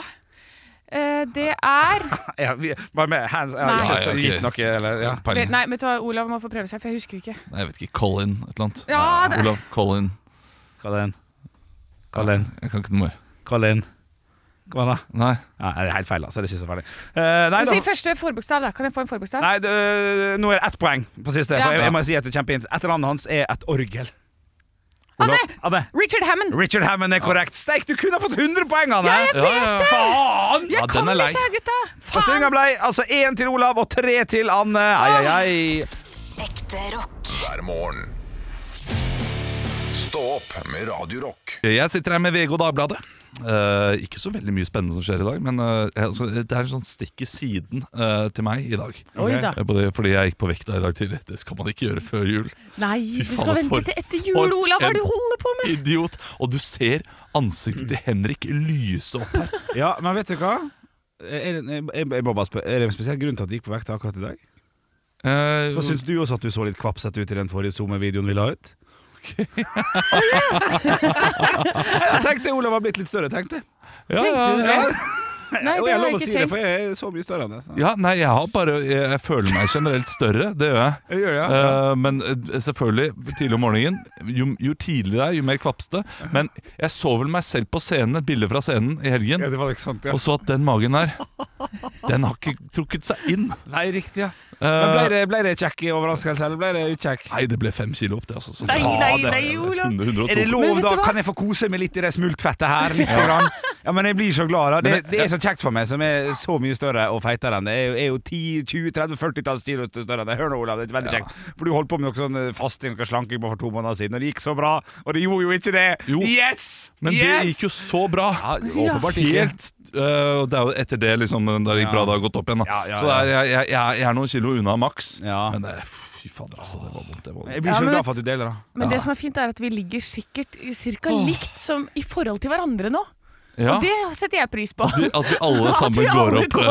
Speaker 8: Eh, det er
Speaker 2: den. Ja, vi, bare med hands Jeg har
Speaker 8: Nei.
Speaker 2: ikke så-
Speaker 3: Nei, ok.
Speaker 2: gitt noe, eller ja.
Speaker 3: Peiling.
Speaker 8: Nei, vet du hva, Olav må få prøve seg, for jeg husker ikke.
Speaker 3: Nei, jeg vet ikke. Colin et eller annet.
Speaker 8: Ja, det-
Speaker 3: Olav Colin.
Speaker 2: Hva er den? Hva er den?
Speaker 3: Jeg kan ikke noe mer.
Speaker 2: Hva er den? Hva da?
Speaker 3: Nei.
Speaker 2: Ja, det er helt feil, altså. Det er ikke så farlig. Eh, nei, da.
Speaker 8: Si første forbokstav, da. Kan jeg få en forbokstav?
Speaker 2: Nei, det, nå er det ett poeng på siste.
Speaker 8: Ja.
Speaker 2: For jeg, jeg må si at det er kjempefint. Etternavnet hans er et orgel.
Speaker 8: Anne!
Speaker 2: Olav- Anne!
Speaker 8: Richard Hammond!
Speaker 2: Richard Hammond er korrekt. Steik, du kunne ha fått 100 poeng, Anne!
Speaker 8: Ja, jeg
Speaker 3: Ja, ja, ja.
Speaker 8: vet det!
Speaker 2: Faen!
Speaker 8: Jeg
Speaker 3: Ja, den
Speaker 8: kan
Speaker 3: er lei.
Speaker 8: disse her gutta!
Speaker 2: Og
Speaker 8: Faen!
Speaker 2: Stillinga ble altså én til Olav og tre til Anne. Ai, ai, ai.
Speaker 5: Ekte rock.
Speaker 1: hver morgen. Stå opp med Radio Rock.
Speaker 3: Jeg sitter her med VG og Dagbladet. Eh, ikke så veldig mye spennende som skjer i dag, men eh, jeg- altså, det er en sånn stikk i siden eh, til meg i dag.
Speaker 8: Oi da.
Speaker 3: Eh, Både fordi jeg gikk på vekta i dag tidlig. Det skal man ikke gjøre før jul.
Speaker 8: Nei, du
Speaker 3: Fy faen,
Speaker 8: skal
Speaker 3: for-
Speaker 8: vente til etter jul,
Speaker 3: for
Speaker 8: Olav! Hva er det
Speaker 3: en-
Speaker 8: du holder på med?
Speaker 3: Idiot! Og du ser ansiktet til Henrik lyse opp her.
Speaker 2: Ja, men vet du hva? Er det, jeg- jeg- jeg må bare spør- er det en spesiell grunn til at du gikk på vekta akkurat i dag?
Speaker 3: Eh,
Speaker 2: Så Syns du også at du så litt kvapsete ut i den forrige SoMe-videoen vi la ut? <laughs> jeg tenkte Olav har blitt litt større, tenkte jeg.
Speaker 3: ja,
Speaker 8: Tenkte du
Speaker 3: ja,
Speaker 8: det?
Speaker 3: ja.
Speaker 8: Nei,
Speaker 2: Og
Speaker 8: det
Speaker 2: jeg
Speaker 8: har
Speaker 2: lov å
Speaker 8: jeg
Speaker 2: si
Speaker 8: ikke
Speaker 2: det,
Speaker 8: tenkt.
Speaker 2: for jeg er så mye større enn det. så.
Speaker 3: Eh, ja, nei, jeg har bare Jeg, jeg føler meg generelt større. Det gjør jeg.
Speaker 2: Jeg gjør det, ja.
Speaker 3: Eh, men eh, selvfølgelig, tidlig om morgenen Jo, jo tidligere det er, jo mer kvapste. Men jeg så vel meg selv på scenen, et bilde fra scenen i helgen,
Speaker 2: Ja, det var ikke sant, ja.
Speaker 3: og så at den magen der Den har ikke trukket seg inn.
Speaker 2: Nei, riktig, ja.
Speaker 3: Eh,
Speaker 2: Men ble det, ble det kjekk i overraskelse, eller ble det ukjekk?
Speaker 3: Nei, det ble fem kilo opp, det. Altså, Så
Speaker 8: Nei,
Speaker 3: faen,
Speaker 8: nei,
Speaker 3: det-
Speaker 8: nei, Olav.
Speaker 3: 100, 102.
Speaker 2: Er det lov,
Speaker 8: Men vet
Speaker 2: da?
Speaker 8: du hva?
Speaker 2: Kan jeg få kose meg litt i det smultfettet her? Litt grann? Ja, men jeg blir så glad. da det, det er så kjekt for meg, som er så mye større og feitere enn det. Jeg er jo- er jo 10-20-30-40-talls kilo større enn det. Hør nå, Olav, det er veldig kjekt. For du holdt på med noe sånn eh, fasting og slanking på for to måneder siden, og det gikk så bra. Og det gjorde jo ikke det.
Speaker 3: Jo.
Speaker 2: Yes!
Speaker 3: Men
Speaker 2: yes!
Speaker 3: det gikk jo så bra.
Speaker 2: ja, Åpenbart ikke.
Speaker 3: Helt øh, Det er jo etter det liksom Da det gikk bra, det har gått opp igjen. Da.
Speaker 2: Ja, ja,
Speaker 3: Så det er, jeg, jeg, jeg er- jeg er noen kilo unna maks.
Speaker 2: Ja.
Speaker 3: Men det, fy fader, altså. Det var vondt. Det var vondt.
Speaker 2: Jeg blir
Speaker 8: Ja,
Speaker 2: så
Speaker 8: men-
Speaker 2: glad for at du deler, da.
Speaker 8: Men det som er fint, er at vi ligger sikkert ca. likt som i forhold til hverandre nå.
Speaker 3: Ja.
Speaker 8: Og det setter jeg pris på.
Speaker 3: At vi, at vi alle
Speaker 8: At vi
Speaker 3: sammen går
Speaker 8: alle
Speaker 3: opp. eh,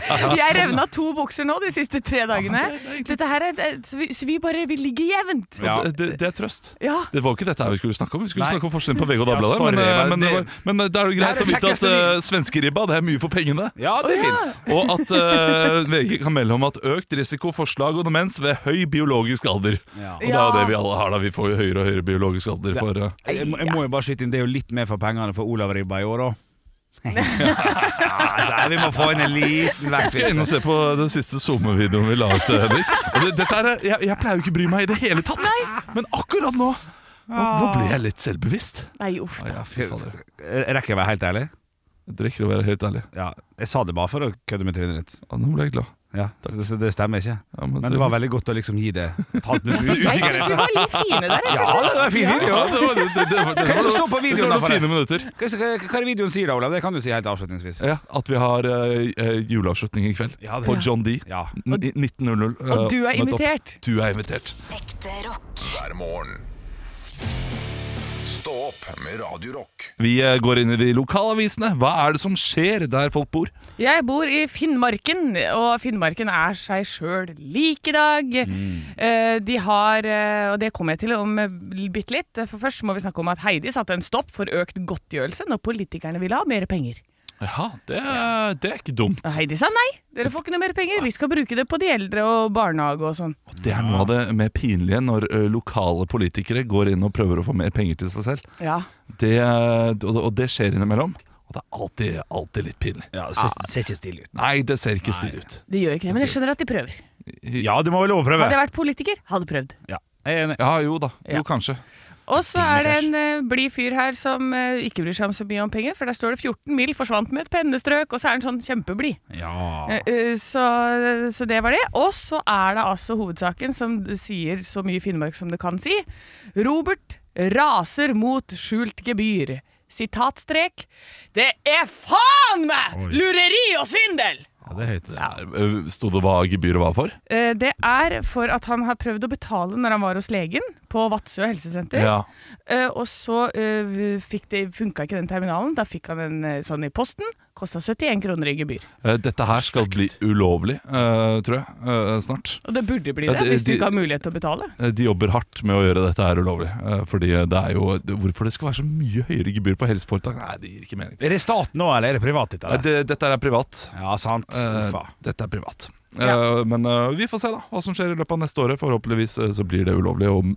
Speaker 8: går opp. Jeg revna to bukser nå de siste tre dagene. Dette her er,
Speaker 4: eh,
Speaker 8: det- så, vi, så vi bare vi ligger jevnt.
Speaker 2: Ja.
Speaker 3: Det, det, det er trøst.
Speaker 8: Ja.
Speaker 3: Det var jo ikke dette her vi skulle snakke om. Vi skulle
Speaker 2: Nei.
Speaker 3: snakke om forskjellen på VG og
Speaker 2: Ja,
Speaker 3: Dagbladet.
Speaker 2: sorry,
Speaker 3: men, øh,
Speaker 2: men
Speaker 3: men, det
Speaker 2: det-
Speaker 3: var- men det er jo
Speaker 2: Det
Speaker 3: greit
Speaker 2: er
Speaker 3: å
Speaker 2: det
Speaker 3: vite at
Speaker 2: kjekkeste vi-
Speaker 3: øh, svenskeribba det er mye for pengene.
Speaker 2: Ja, det
Speaker 8: ja.
Speaker 2: er fint.
Speaker 3: Og at øh, <laughs> VG kan melde om at økt risiko for slag og demens ved høy biologisk alder.
Speaker 2: Ja.
Speaker 3: Og det er jo det vi alle har, da. Vi får jo høyere og høyere biologisk alder for øh,
Speaker 2: Jeg, må- jeg må jo bare skyte inn, det er jo litt mer for pengene for Olav Ribba i <laughs> år òg. vi må få inn en liten
Speaker 3: Skal jeg inn og se på den siste SoMe-videoen vi la ut, eh, Henrik? Og det, dette er, jeg, jeg pleier jo ikke å bry meg i det hele tatt, men akkurat nå Nå, nå
Speaker 2: Ah.
Speaker 3: ble jeg litt selvbevisst.
Speaker 8: Nei, uff.
Speaker 3: Ja, fy fader.
Speaker 2: Rekker jeg å være helt ærlig?
Speaker 3: Det rekker å være helt ærlig.
Speaker 2: Ja, jeg sa det bare for å kødde med trynet ditt.
Speaker 3: Ja, nå ble jeg glad.
Speaker 2: Ja, det, så det stemmer ikke.
Speaker 3: Ja,
Speaker 2: Men det var veldig godt å liksom gi det et halvt minutt
Speaker 8: Jeg syns
Speaker 2: usikkerhet.
Speaker 8: vi var litt fine der. jeg
Speaker 2: Ja,
Speaker 8: skjønner.
Speaker 2: det var fin video.
Speaker 3: ja, det var, det, det, det, var- det,
Speaker 2: Hva er det som
Speaker 3: var-
Speaker 2: står på videoen
Speaker 3: dette var
Speaker 2: da, for
Speaker 3: noen fine minutter.
Speaker 2: Hva hva er det videoen sier da, Olav? Det kan du si helt avslutningsvis.
Speaker 3: Ja, at vi har eh, eh, juleavslutning i kveld
Speaker 2: Ja, det-
Speaker 3: på John D.
Speaker 2: Ja.
Speaker 3: N- i 1900. eh,
Speaker 8: Og du er
Speaker 3: nettopp.
Speaker 8: invitert.
Speaker 3: Du er invitert.
Speaker 5: Ekte rock.
Speaker 1: hver morgen. Stå opp med Radio Rock.
Speaker 3: Vi eh, går inn i de lokalavisene. Hva er det som skjer der folk bor?
Speaker 4: Jeg bor i Finnmarken, og Finnmarken er seg sjøl lik i dag. Eh, De har, eh, og det kommer jeg til om eh, bitte litt, for først må vi snakke om at Heidi satte en stopp for økt godtgjørelse når politikerne ville ha mer penger.
Speaker 3: Ja, det, er- det er ikke dumt.
Speaker 4: Og Heidi sa nei, dere får ikke noe mer penger, vi skal bruke det på de eldre og barnehage og sånn.
Speaker 3: Det er noe av det mer pinlige når ø, lokale politikere går inn og prøver å få mer penger til seg selv.
Speaker 4: Ja.
Speaker 3: Det, eh, og, og det skjer innimellom. Og det er alltid, alltid litt pinlig.
Speaker 2: Ja, det ser, ser ikke stille ut.
Speaker 3: Nei, det ser ikke stille ut.
Speaker 4: Det gjør ikke det, men jeg skjønner at de prøver.
Speaker 2: Ja, du må vel overprøve.
Speaker 4: Hadde jeg vært politiker, hadde prøvd.
Speaker 2: Ja, jeg er enig.
Speaker 3: Ja, jo da. Jo,
Speaker 4: Ja.
Speaker 3: kanskje.
Speaker 4: Og så er det en eh, blid fyr her som eh, ikke bryr seg om så mye om penger, for der står det 14 mil forsvant med et pennestrøk, og så er han sånn kjempeblid.
Speaker 2: Ja.
Speaker 4: Eh, eh, Så, så det var det. Og så er det altså hovedsaken som du sier så mye Finnmark som det kan si. Robert raser mot skjult gebyr. Sitatstrek. Det er faen meg
Speaker 2: Oi.
Speaker 4: lureri og svindel!
Speaker 2: ja, det er høyt.
Speaker 3: Ø, Eh, Sto det hva gebyret var for?
Speaker 4: Eh, Det er for at han har prøvd å betale når han var hos legen på Vadsø helsesenter.
Speaker 3: Ja.
Speaker 4: Eh, og så eh, fikk det, funka ikke den terminalen. Da fikk han en eh, sånn i posten. Kosta 71 kroner i gebyr.
Speaker 3: Eh, Dette her skal bli ulovlig, eh, tror jeg, eh, snart.
Speaker 4: Og det burde bli
Speaker 3: Ja,
Speaker 4: det,
Speaker 3: det-
Speaker 4: hvis du
Speaker 3: de-
Speaker 4: ikke har mulighet til å betale.
Speaker 3: Eh, De jobber hardt med å gjøre dette her ulovlig. eh, Fordi det er jo det- Hvorfor det skal være så mye høyere gebyr på helseforetak? Nei, det gir ikke mening.
Speaker 2: Er det staten nå, eller er det privat? Dette,
Speaker 3: Eh,
Speaker 2: eller?
Speaker 3: Det, dette her er privat.
Speaker 2: Ja, sant.
Speaker 3: Eh,
Speaker 2: Uffa.
Speaker 3: dette er privat.
Speaker 4: Ja.
Speaker 3: Eh, men eh, vi får se da hva som skjer i løpet av neste året. Forhåpentligvis eh, så blir det ulovlig og m-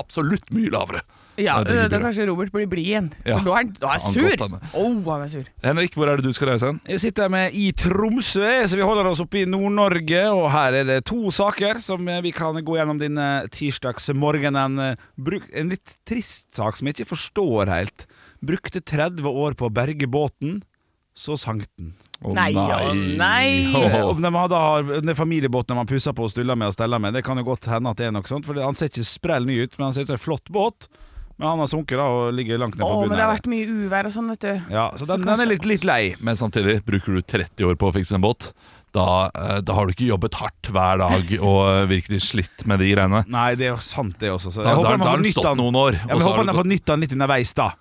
Speaker 3: absolutt mye lavere.
Speaker 4: Ja,
Speaker 3: Nei, det gidder
Speaker 4: da
Speaker 3: jeg.
Speaker 4: kanskje Robert blir blid igjen.
Speaker 3: Ja.
Speaker 4: For nå er han, nå er
Speaker 3: Han
Speaker 4: han sur!
Speaker 3: godt henne.
Speaker 4: Åh, han er sur.
Speaker 3: Henrik, hvor er det du skal reise hen?
Speaker 2: Jeg sitter med i Tromsø, så vi holder oss oppe i Nord-Norge. Og her er det to saker som eh, vi kan gå gjennom denne tirsdagsmorgenen. Eh, Bruk, en litt trist sak som jeg ikke forstår helt. Brukte 30 år på å berge båten, så sank den.
Speaker 3: Å,
Speaker 4: Nei, å, nei.
Speaker 3: Åh.
Speaker 2: Eh, Om de hadde har- den familiebåten de har pussa på og stulla med og stella med, det kan jo godt hende at det er noe sånt. For han ser ikke sprell ny ut, men han ser ut som en flott båt. Men han har sunket da og ligger langt ned på
Speaker 4: Åh,
Speaker 2: bunnen.
Speaker 4: men det har
Speaker 2: her.
Speaker 4: vært mye uvær og sånn, vet du.
Speaker 2: ja, så den, den er litt, litt lei.
Speaker 3: Men samtidig, bruker du 30 år på å fikse en båt, da, eh, da har du ikke jobbet hardt hver dag og eh, virkelig slitt med de greiene.
Speaker 2: Nei, det er jo sant, det også. Så jeg
Speaker 3: Da, da,
Speaker 2: håper
Speaker 3: da
Speaker 2: han har
Speaker 3: har
Speaker 2: fått
Speaker 3: den
Speaker 2: nytte
Speaker 3: stått
Speaker 2: av den.
Speaker 3: noen år.
Speaker 2: Ja,
Speaker 3: og
Speaker 2: men jeg
Speaker 3: så har
Speaker 2: håper
Speaker 3: du
Speaker 2: han har fått nytte av den litt underveis, da.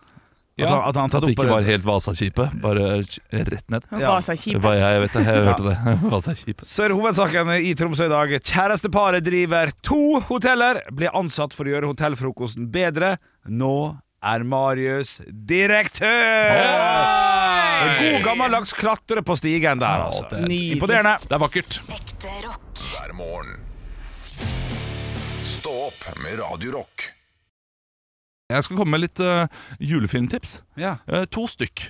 Speaker 3: Ja,
Speaker 2: At han- at han har tatt
Speaker 3: det
Speaker 2: opp
Speaker 3: ikke
Speaker 2: på
Speaker 3: var
Speaker 2: det.
Speaker 3: helt Vasaskipet, bare rett ned.
Speaker 2: Ja.
Speaker 4: Vasa
Speaker 3: Det
Speaker 4: kjip.
Speaker 3: var jeg, jeg vet det. Jeg hørte det. <laughs> Vasaskipet.
Speaker 2: Så er hovedsaken i Tromsø i dag. Kjæresteparet driver to hoteller. Ble ansatt for å gjøre hotellfrokosten bedre. Nå er Marius direktør! Så god gammeldags klatre på stigen der, altså.
Speaker 3: Ja, det,
Speaker 4: Nydelig.
Speaker 2: Imponerende.
Speaker 3: det er vakkert.
Speaker 5: Ekte rock.
Speaker 1: hver morgen. Stå opp med Radio Rock.
Speaker 3: Jeg skal komme med litt eh, julefilmtips.
Speaker 2: Ja.
Speaker 3: Eh, to stykk.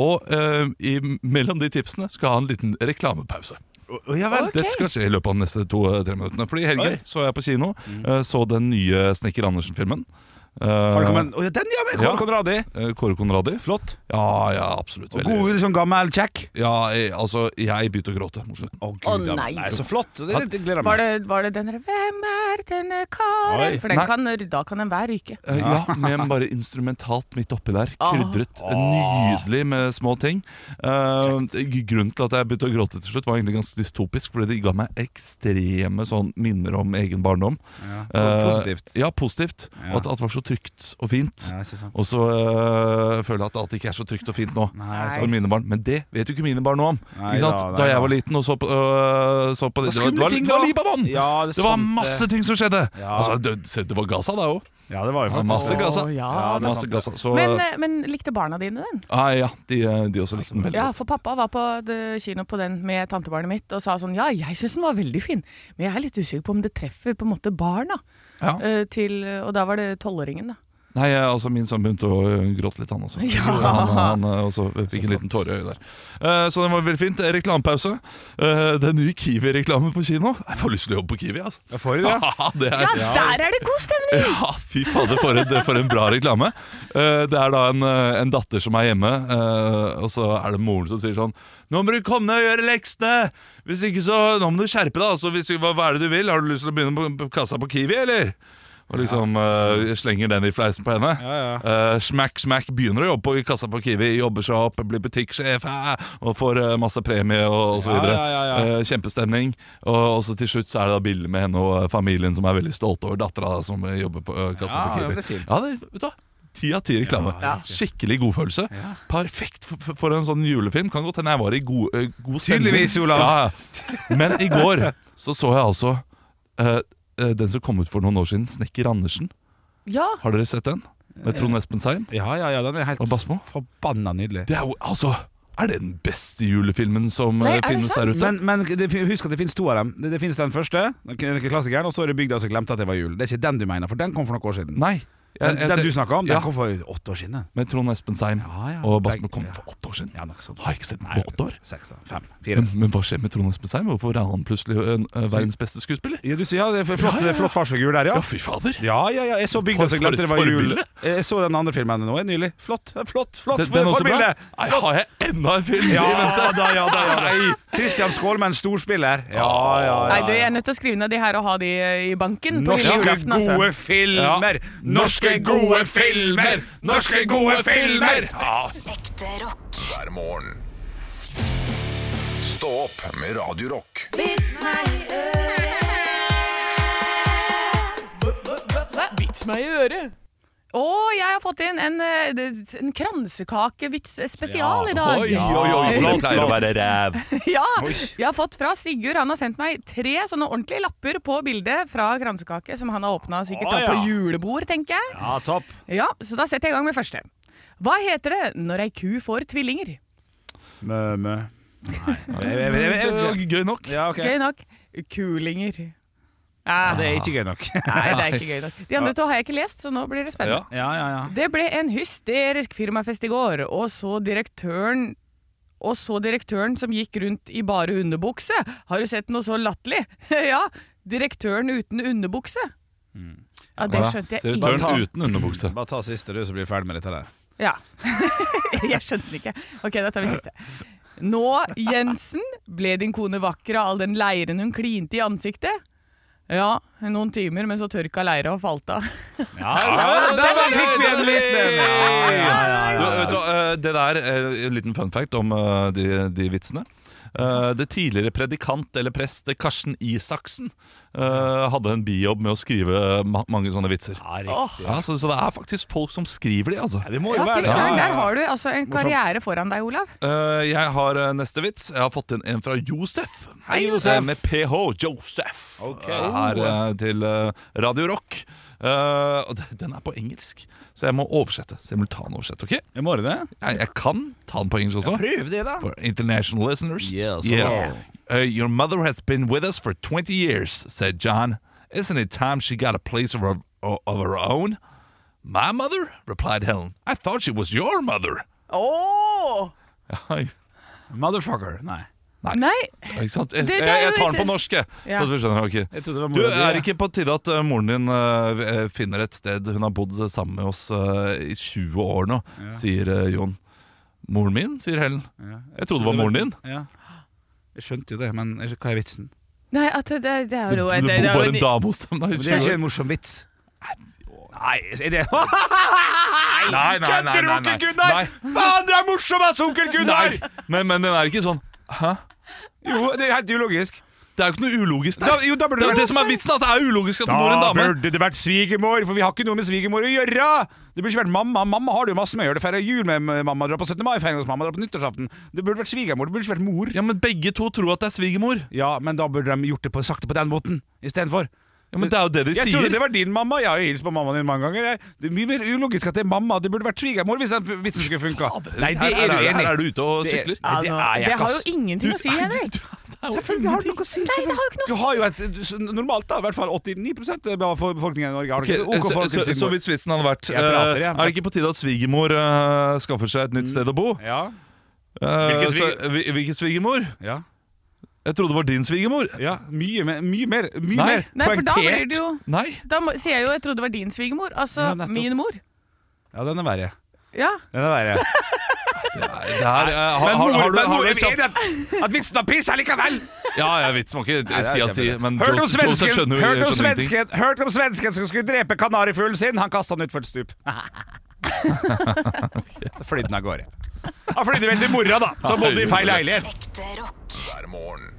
Speaker 3: Og eh, i, mellom de tipsene skal jeg ha en liten reklamepause.
Speaker 2: Å, Ja vel.
Speaker 4: Ok.
Speaker 3: Dette skal skje i løpet av de neste to-tre minuttene. Fordi i helgen
Speaker 2: Oi. Mm.
Speaker 3: så jeg på kino, eh, så den nye Snekker Andersen-filmen. Eh,
Speaker 2: Har det kommet en Å ja, den, ja! Med Kåre
Speaker 3: Ja.
Speaker 2: Conradi.
Speaker 3: eh, Kåre Conradi.
Speaker 2: Flott.
Speaker 3: Ja, ja, absolutt.
Speaker 2: Og
Speaker 3: Veldig.
Speaker 2: god sånn gammel kjekk.
Speaker 3: Ja, jeg, altså, jeg begynte å gråte. Morsomt.
Speaker 2: Å gud, ja,
Speaker 4: nei.
Speaker 2: Så flott. Det, det, det gleder jeg
Speaker 4: Var
Speaker 2: meg.
Speaker 4: det, var det den derre 'Hvem er denne karen?'
Speaker 2: Oi.
Speaker 4: For den
Speaker 3: Nei.
Speaker 4: kan, da kan enhver ryke.
Speaker 3: Eh, <laughs> Ja, men bare instrumentalt midt oppi der.
Speaker 4: Ah.
Speaker 3: Krydret
Speaker 2: Ah.
Speaker 3: nydelig med små ting. Eh, grunnen til at jeg begynte å gråte til slutt, var egentlig ganske dystopisk, fordi det ga meg ekstreme sånn minner om egen barndom.
Speaker 2: Ja.
Speaker 3: Eh,
Speaker 2: Positivt.
Speaker 3: Ja, positivt.
Speaker 2: Ja.
Speaker 3: Og at at det var så trygt og fint.
Speaker 2: Ja, ikke sant.
Speaker 3: Og så eh, føler jeg at alt ikke er så trygt og fint nå.
Speaker 2: Nei,
Speaker 3: For mine barn. Men det vet jo ikke mine barn noe om.
Speaker 2: Nei
Speaker 3: ikke sant?
Speaker 2: da, nei
Speaker 3: Da, jeg
Speaker 2: da.
Speaker 3: var liten og så på, øh, så på det, det, var, det, var, det var Libanon!
Speaker 2: Ja, det
Speaker 3: det var
Speaker 2: sant, det.
Speaker 3: masse ting som skjedde!
Speaker 2: Ja.
Speaker 3: Altså, det, se, det var Gaza, da òg.
Speaker 2: Ja, det var jo faktisk
Speaker 3: Masse Gaza.
Speaker 4: Å,
Speaker 2: Ja,
Speaker 4: ja.
Speaker 2: det er
Speaker 3: Masse
Speaker 2: sant. øh,
Speaker 3: Gaza. Så
Speaker 4: men, eh, men likte barna dine den?
Speaker 3: ah, ja, de, de også likte den veldig
Speaker 4: Ja,
Speaker 3: godt.
Speaker 4: for pappa var på eh, kino på den med tantebarnet mitt og sa sånn 'Ja, jeg syns den var veldig fin, men jeg er litt usikker på om det treffer på en måte barna'.
Speaker 3: Ja.
Speaker 4: Eh, Til, og da var det tolvåringen, da.
Speaker 3: Nei, eh, altså Min sønn begynte å eh, gråte litt, han også.
Speaker 4: Ja.
Speaker 3: Han, han eh, også fikk en liten tåre i øyet der. Eh, så den var veldig fint. Eh, Reklamepause. Eh, det er ny Kiwi-reklame på kino. Jeg får lyst til å jobbe på Kiwi, altså. <laughs>
Speaker 2: Jeg får jo det.
Speaker 3: det er,
Speaker 4: Ja, der er det god stemning!
Speaker 3: <laughs> Ja, fy fader, for en, for en bra reklame. Eh, det er da en, eh, en datter som er hjemme, eh, og så er det moren som sier sånn Nå må du komme deg og gjøre leksene! Hvis ikke så Nå må du skjerpe deg, altså. Hvis, hva, hva er det du vil? Har du lyst til å begynne på, på kassa på Kiwi, eller? Og liksom eh, slenger den i fleisen på henne.
Speaker 2: Ja,
Speaker 3: Eh, smack, smack, begynner å jobbe på, i kassa på Kiwi, jobber seg opp, blir butikksjef, eh, og får eh, masse premie og, og så
Speaker 2: Ja,
Speaker 3: videre.
Speaker 2: ja, ja, ja.
Speaker 3: Eh, kjempestemning. Og, og så til slutt så er det da bilder med henne og familien som er veldig stolte over dattera som eh, jobber på eh, kassa
Speaker 2: Ja,
Speaker 3: på
Speaker 2: ja,
Speaker 3: Kiwi.
Speaker 2: det er fint.
Speaker 3: Ja, det, vet du hva? Ti av ti reklame.
Speaker 2: Ja,
Speaker 3: Skikkelig godfølelse. Perfekt for, for- for en sånn julefilm. Kan godt hende jeg var i god, eh, god stemning.
Speaker 2: Tydeligvis, Olav.
Speaker 3: Ja, ja. Men i går så så jeg altså eh, eh, den som kom ut for noen år siden, Snekker Andersen.
Speaker 4: Ja,
Speaker 3: Har dere sett den? Med Trond Espen Seim
Speaker 2: Ja, ja, ja, den er helt
Speaker 3: og Basmo.
Speaker 2: forbanna nydelig.
Speaker 3: Det er jo altså Er det den beste julefilmen som
Speaker 4: Nei,
Speaker 3: eh,
Speaker 4: er det
Speaker 3: finnes
Speaker 4: sant?
Speaker 3: der ute?
Speaker 2: Men, men det, fin- husk at det finnes to av dem. Det, det finnes den første, den k- klassikeren, og så er det bygda som glemte at det var jul. Det er ikke den du mener, for den kom for noen år siden.
Speaker 3: Nei.
Speaker 2: Den,
Speaker 3: Jeg- jeg-
Speaker 2: den du snakka om, den
Speaker 3: ja,
Speaker 2: kom for åtte år siden.
Speaker 3: Med Trond Espen Seim
Speaker 2: Ja, ja.
Speaker 3: og Basmo
Speaker 2: Begge-
Speaker 3: kom
Speaker 2: ja.
Speaker 3: for åtte år siden.
Speaker 2: Ja, nok sånn.
Speaker 3: Har jeg ikke sett den
Speaker 2: Nei,
Speaker 3: på åtte år.
Speaker 2: Seks, da. Fem.
Speaker 3: Men,
Speaker 2: Fire.
Speaker 3: men hva skjer med Trond Espen Seim? Hvorfor er han plutselig eh, eh, verdens beste skuespiller?
Speaker 2: Ja, du sier ja, det er f- flott,
Speaker 3: Ja, ja, ja.
Speaker 2: flott farsfigur der, ja.
Speaker 3: Ja, fy fader!
Speaker 2: Ja, ja, ja. Jeg så bygda
Speaker 3: For-
Speaker 2: som glemte
Speaker 3: for-
Speaker 2: det var jul.
Speaker 3: forbilde?
Speaker 2: Jeg så den andre filmen nå nylig. Flott, flott, flott
Speaker 3: Den, den er også bra?
Speaker 2: forbilde!
Speaker 3: Nei, har jeg enda en film
Speaker 2: Ja
Speaker 3: i vente?
Speaker 2: da, ja da. Ja, da. Christian Skålmenn, storspiller. Ja, ja, ja.
Speaker 4: Nei, du, jeg er nødt til å skrive ned de her og ha de eh, i banken på lille
Speaker 2: Norske
Speaker 4: julaften. Altså.
Speaker 2: gode filmer! Norske gode filmer! Norske gode filmer!
Speaker 5: Ekte rock.
Speaker 1: hver morgen. Stå opp med Radio Rock.
Speaker 4: Vits meg i øret! Å, jeg har fått inn en, eh, en kransekakevits eh, spesial i dag.
Speaker 3: Oi, oi, oi, for det pleier å være ræv.
Speaker 4: <laughs> Ja, jeg har fått fra Sigurd. Han har sendt meg tre sånne ordentlige lapper på bildet fra kransekake som han har åpna sikkert
Speaker 2: Å,
Speaker 4: da på
Speaker 2: ja.
Speaker 4: julebord, tenker jeg.
Speaker 2: Ja, topp.
Speaker 4: Ja, Så da setter jeg i gang med første. Hva heter det når ei ku får tvillinger?
Speaker 2: Mø, mø. Nei, jeg, jeg, jeg, jeg,
Speaker 3: Det
Speaker 2: vet
Speaker 3: var
Speaker 2: ikke.
Speaker 3: gøy nok.
Speaker 2: Ja, ok.
Speaker 4: Gøy nok. Kulinger.
Speaker 2: Ja,
Speaker 4: Ja,
Speaker 2: Det er ikke gøy nok.
Speaker 4: nei, det er ikke gøy nok. De andre to har jeg ikke lest, så nå blir det spennende.
Speaker 2: <laughs>
Speaker 3: Ja.
Speaker 2: Ja, ja, ja.
Speaker 4: Det ble en hysterisk firmafest i går, og så direktøren og så direktøren som gikk rundt i bare underbukse. Har du sett noe så latterlig? <laughs> ja, direktøren uten underbukse. Ja, det skjønte jeg
Speaker 3: Return
Speaker 4: ikke.
Speaker 3: uten underbukse.
Speaker 2: Bare ta siste, du, så blir vi ferdig med dette der.
Speaker 4: Ja. <laughs> jeg skjønte den ikke. Ok, da tar vi siste. Nå, Jensen, ble din kone vakker av all den leiren hun klinte i ansiktet? Ja, noen timer, men så tørka leira og falt av.
Speaker 2: Ja, der, der, der fikk vi en liten ja, ja, ja,
Speaker 3: Du,
Speaker 2: ja.
Speaker 3: vet du, eh, det der er en liten fun fact om eh, de, de vitsene. Eh, Det tidligere predikant eller prest Karsten Isaksen eh, hadde en bijobb med å skrive ma mange sånne vitser.
Speaker 2: Ja, riktig.
Speaker 4: Åh,
Speaker 3: Ja, så, så det er faktisk folk som skriver de, altså.
Speaker 2: Ja, det må
Speaker 4: ja,
Speaker 2: jo
Speaker 4: fy
Speaker 2: være
Speaker 4: søren,
Speaker 2: Ja,
Speaker 4: der
Speaker 2: ja.
Speaker 4: har du altså en karriere foran deg, Olav.
Speaker 3: Eh, jeg har eh, neste vits. Jeg har fått inn en fra Josef.
Speaker 2: Hei, Josef.
Speaker 3: Eh, med PH. Josef.
Speaker 2: Ok. Oh.
Speaker 3: Eh, Her eh, til eh, Radio Rock. Eh, og d- den er på engelsk, så jeg må oversette. Simultanoversette. ok?
Speaker 2: Jeg må det.
Speaker 3: Jeg, jeg kan ta den på engelsk også.
Speaker 2: Prøv det, da.
Speaker 3: For international listeners.
Speaker 2: Yes.
Speaker 3: Yeah. Uh, your mother has been with us for 20 years, said John. Isn't it time she got a place of her, of her own? My mother? replied Helen. I thought she was your mother. <laughs>
Speaker 4: Åh!
Speaker 2: Motherfucker. Nei.
Speaker 4: Nei,
Speaker 3: Ikke sant? Jeg,
Speaker 4: Det- det er
Speaker 3: jeg, jeg
Speaker 4: jo
Speaker 3: tar den
Speaker 4: ikke-
Speaker 3: på norsk, jeg.
Speaker 4: Ja.
Speaker 3: Så at vi skjønner ok.
Speaker 2: Jeg trodde det var
Speaker 3: Du,
Speaker 2: mora di,
Speaker 3: er
Speaker 2: jeg.
Speaker 3: ikke på tide at eh, moren din eh, eh, finner et sted Hun har bodd sammen med oss eh, i 20 år nå, sier eh, Jon. Moren min, sier Helen. Jeg trodde det var moren din.
Speaker 2: Ja. Jeg skjønte jo det, men jeg- hva er vitsen?
Speaker 4: nei at det, det er
Speaker 3: Du,
Speaker 4: jo
Speaker 3: du bor
Speaker 4: det- det er jo
Speaker 3: bare
Speaker 4: en-
Speaker 3: en dame hos dem. da, i
Speaker 2: Det
Speaker 3: 20
Speaker 2: er
Speaker 3: år.
Speaker 2: ikke en morsom vits. Nei, er det
Speaker 3: Nei, nei, nei, nei, nei, nei. Nei.
Speaker 2: Faen, du er morsom, ass, onkel
Speaker 3: Nei, men, men den er ikke sånn Hæ?
Speaker 2: Jo, det er helt ulogisk.
Speaker 3: Det er jo ikke noe ulogisk
Speaker 2: Da,
Speaker 3: der.
Speaker 2: jo, da
Speaker 3: Det
Speaker 2: burde
Speaker 3: er jo
Speaker 2: vært-
Speaker 3: det som er vitsen, at det er ulogisk at det bor en
Speaker 2: Da
Speaker 3: dame.
Speaker 2: burde det vært svigermor, for vi har ikke noe med svigermor å gjøre! Det burde ikke vært mamma. Mamma har det jo masse med å gjøre. Det feirer jul med mamma, drar på 17. mai, feirer hos mamma, drar på nyttårsaften. Det burde vært svigermor, det burde ikke vært mor.
Speaker 3: Ja, men begge to tror at det er svigermor.
Speaker 2: Ja, men da burde de gjort det på, sakte på den måten istedenfor.
Speaker 3: Ja, men det er jo det de
Speaker 2: Jeg
Speaker 3: sier.
Speaker 2: trodde det var din mamma. Jeg har jo hilst på mammaen din mange ganger. Jeg. Det er mye mer ulogisk at det er mamma. Det burde vært svigermor hvis den f- vitsen skulle funka. Nei, det
Speaker 3: her,
Speaker 2: er du
Speaker 3: her,
Speaker 2: enig
Speaker 3: her
Speaker 2: i.
Speaker 3: er du ute og
Speaker 2: Det er-
Speaker 3: sykler.
Speaker 4: Ja,
Speaker 2: det
Speaker 4: nå,
Speaker 2: er jeg
Speaker 4: det
Speaker 2: ikke,
Speaker 4: har jo
Speaker 2: ass.
Speaker 4: ingenting å si, Henrik.
Speaker 2: Selvfølgelig har det noe å si.
Speaker 4: Nei, det har jo ikke noe å
Speaker 2: Du har jo et s- normalt, da. I hvert fall 89 av befolkningen i Norge har
Speaker 3: Ok,
Speaker 2: det. ikke. OK
Speaker 3: så,
Speaker 2: forhold til
Speaker 3: så, så
Speaker 2: svigermor.
Speaker 3: hvis vitsen hadde vært
Speaker 2: Jeg prater,
Speaker 3: eh,
Speaker 2: jeg.
Speaker 3: Er det ikke på tide at svigermor eh, skaffer seg et nytt sted å bo?
Speaker 2: Ja.
Speaker 3: Eh,
Speaker 2: Hvilken
Speaker 3: så-
Speaker 2: svig-
Speaker 3: hvil- Hvilken svigermor?
Speaker 2: ja.
Speaker 3: Jeg trodde det var din svigermor.
Speaker 2: ja. Mye, mer- mye mer Mye
Speaker 3: Nei.
Speaker 2: mer
Speaker 4: Nei, for da blir
Speaker 2: poengtert.
Speaker 4: det jo
Speaker 3: Nei.
Speaker 4: Da må, sier jeg jo jeg trodde det var din svigermor. Altså
Speaker 2: Ja, nettopp.
Speaker 4: min mor.
Speaker 2: Ja, den er verre.
Speaker 4: Ja.
Speaker 2: Den er verre.
Speaker 3: Det her, eh, har, har, har, du- har du kjapt <laughs>
Speaker 2: at vitsen har piss likevel!
Speaker 3: Ja, ja, vitsen var
Speaker 2: Nei,
Speaker 3: ikke
Speaker 2: det er
Speaker 3: 10 av 10,
Speaker 2: kjempebra.
Speaker 3: men
Speaker 2: Hørt om
Speaker 3: Joseph- Joseph
Speaker 2: svensken,
Speaker 3: skjønner jo-
Speaker 2: hørt om
Speaker 3: skjønner ingenting.
Speaker 2: svensken, hørt om svensken som skulle drepe kanarifuglen sin. Han kasta den utfor et
Speaker 3: <laughs>
Speaker 2: stup. Flydde den av gårde. Han flydde vel til mora, da, som bodde i feil leilighet.
Speaker 5: Ekte rock.
Speaker 1: hver morgen.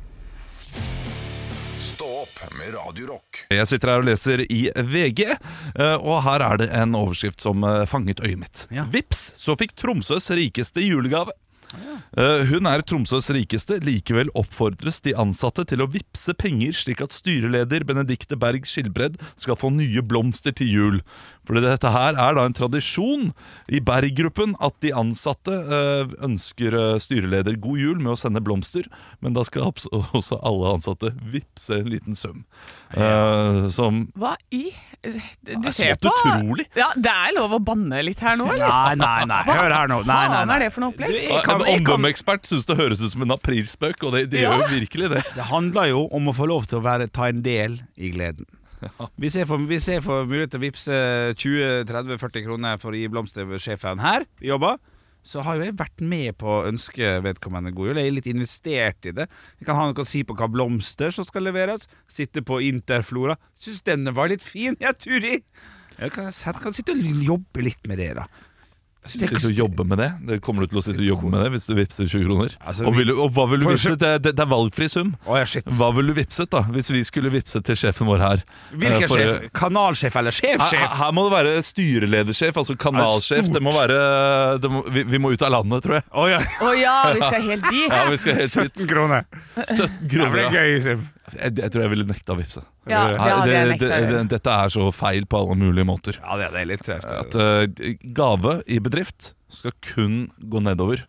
Speaker 1: Stå Stå opp med Radio Rock.
Speaker 3: Jeg sitter her og leser i VG, eh, og her er det en overskrift som eh, fanget øyet mitt.
Speaker 2: Ja.
Speaker 3: Vips, så fikk Tromsøs rikeste julegave. Eh, Hun er Tromsøs rikeste, likevel oppfordres de ansatte til å vippse penger slik at styreleder Benedikte Berg Skilbred skal få nye blomster til jul. Fordi dette her er da en tradisjon i Berg-gruppen at de ansatte eh, ønsker eh, styreleder god jul med å sende blomster, men da skal abs- <laughs> også alle ansatte vippse en liten sum. Eh, Som
Speaker 4: Hva i Du
Speaker 3: er
Speaker 4: ser
Speaker 3: smått
Speaker 4: på
Speaker 3: utrolig.
Speaker 4: Ja, Det er lov å banne litt her nå, eller?
Speaker 2: Nei, nei, nei. Hør her nå. Nei, nei,
Speaker 4: Faen
Speaker 2: nei.
Speaker 4: er det for noe opplegg?
Speaker 2: Du, jeg kan-
Speaker 3: En
Speaker 2: jeg kan-
Speaker 3: omdømmeekspert syns det høres ut som en aprilspøk, og det, det gjør jo virkelig det.
Speaker 2: Det handler jo om å få lov til å være, ta en del i gleden. Hvis jeg får, hvis jeg får mulighet til å vippse 20-30-40 kroner for å gi blomster ved sjefen her i jobba, så har jo jeg vært med på å ønske vedkommende god jul. Jeg er litt investert i det. Jeg kan ha noe å si på hva blomster som skal leveres. Sitte på Interflora. Syns denne var litt fin, jeg, Turi. Jeg kan, jeg kan sitte og jobbe litt med det, da.
Speaker 3: Sitter og jobber med det. det Kommer du til å sitte og jobbe med det hvis du vippser 20 kroner?
Speaker 2: Altså,
Speaker 3: og,
Speaker 2: vi-
Speaker 3: vil, du- og hva vil du
Speaker 2: For-
Speaker 3: vippse? Det, er- det, det er valgfri sum.
Speaker 2: Å, ja, shit.
Speaker 3: Hva ville du vippset, da? Hvis vi skulle vippset til sjefen vår her. Eh,
Speaker 2: Hvilken
Speaker 3: for-
Speaker 2: sjef? Kanalsjef eller
Speaker 3: Her,
Speaker 2: sjefsjef?
Speaker 3: her må det være styreledersjef, altså kanalsjef.
Speaker 2: stort.
Speaker 3: Det må være det må, vi, vi må ut av landet, tror jeg.
Speaker 2: Å ja,
Speaker 4: Å ja, vi skal helt dit?
Speaker 3: Ja, vi skal helt
Speaker 2: <laughs>
Speaker 3: hit.
Speaker 2: 17 kroner.
Speaker 3: 17
Speaker 2: Det
Speaker 3: kroner.
Speaker 2: blir
Speaker 3: ja.
Speaker 2: gøy, Sim.
Speaker 3: Jeg, jeg tror jeg ville nekta å vippse.
Speaker 4: Ja, det hadde jeg
Speaker 3: Nei, det,
Speaker 4: nekta å
Speaker 3: det,
Speaker 4: gjøre.
Speaker 3: det, dette er så feil på alle mulige måter.
Speaker 2: Ja, det det er litt tøft.
Speaker 3: At eh, gave i bedrift skal kun gå nedover.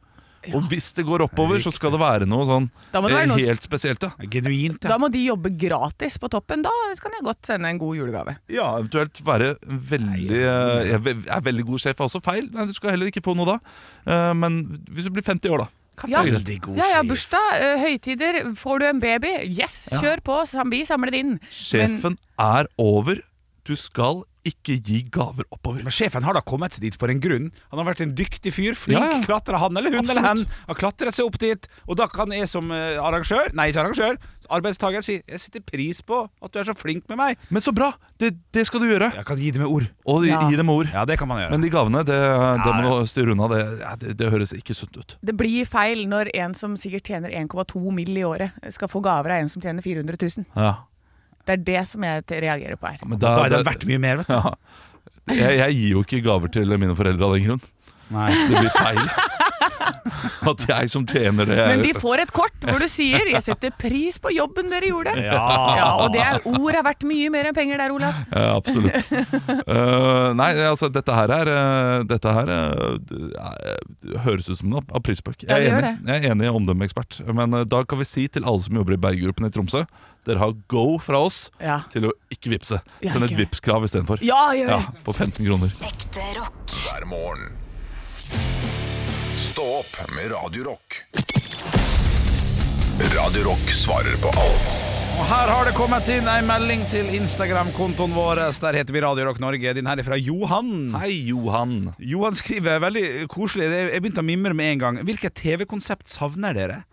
Speaker 3: Og hvis det går oppover, så skal det være noe sånn
Speaker 4: Da må det være
Speaker 3: eh,
Speaker 4: noe-
Speaker 3: helt spesielt. Ja.
Speaker 2: Genuint,
Speaker 4: Da må de jobbe gratis på toppen. Da kan jeg godt sende en god julegave.
Speaker 3: Ja, eventuelt være veldig eh, Jeg ve- er veldig god sjef er også feil. Nei, Du skal heller ikke få noe da. Eh, Men hvis du blir 50 år, da. kan
Speaker 4: Ja.
Speaker 3: det være greit.
Speaker 2: Veldig god
Speaker 4: Ja, ja,
Speaker 2: sjef.
Speaker 4: bursdag, eh, høytider. Får du en baby? Yes, kjør på. sam- Vi samler inn.
Speaker 3: Sjefen er over. Du skal ikke gi gaver oppover.
Speaker 2: Men sjefen har da kommet seg dit for en grunn. Han har vært en dyktig fyr. Flink
Speaker 3: Ja, ja.
Speaker 2: klatrer han eller hun eller hen. Har klatret seg opp dit. Og da kan jeg som eh, arrangør, nei ikke arrangør, arbeidstaker si jeg setter pris på at du er så flink med meg.
Speaker 3: Men så bra! Det, det skal du gjøre.
Speaker 2: Jeg kan gi det med ord.
Speaker 3: Og gi, gi dem ord.
Speaker 2: Ja, det kan man gjøre.
Speaker 3: Men de gavene, det, det må
Speaker 2: Ja.
Speaker 3: du styre unna. Det, ja, det, det høres ikke sunt ut.
Speaker 4: Det blir feil når en som sikkert tjener 1,2 mill. i året, skal få gaver av en som tjener 400 000.
Speaker 3: Ja.
Speaker 4: Det er det som jeg te- reagerer på her.
Speaker 3: Men
Speaker 2: da er det
Speaker 3: da-
Speaker 2: verdt mye mer, vet du.
Speaker 3: Ja. Jeg, jeg gir jo ikke gaver til mine foreldre av den grunn.
Speaker 2: Nei.
Speaker 3: <laughs> Det blir
Speaker 4: <laughs>
Speaker 3: feil. At jeg som tjener det
Speaker 4: Men de får et kort hvor du sier 'jeg setter pris på jobben dere gjorde'.
Speaker 2: Ja.
Speaker 4: Ja, og det er, ord er verdt mye mer enn penger der, Olav.
Speaker 3: Ja, absolutt. Eh, nei, altså, dette her er eh, Dette her eh, d- eh, høres ut som en ap- aprilspøk.
Speaker 4: Ja,
Speaker 3: Jeg,
Speaker 4: det
Speaker 3: er
Speaker 4: gjør
Speaker 3: enig. jeg er enig i omdømmeekspert. Men eh, da kan vi si til alle som jobber i Berggruppen i Tromsø, dere har go fra oss
Speaker 4: Ja,
Speaker 3: til å ikke vippse.
Speaker 4: Ja,
Speaker 3: Send et
Speaker 4: ikke det.
Speaker 3: vippskrav istedenfor.
Speaker 4: ja gjør det!
Speaker 3: Ja, på 15 kroner.
Speaker 5: Ekte rock.
Speaker 1: hver morgen. Stå opp med Radio Rock. Radio Rock svarer på alt
Speaker 2: Og her har det kommet inn ei melding til Instagram-kontoen vår. Der heter vi Radio Rock Norge. Din her er fra Johan.
Speaker 3: Hei, Johan.
Speaker 2: Johan skriver veldig koselig. Det- Jeg begynte å mimre med en gang. Hvilket TV-konsept savner dere?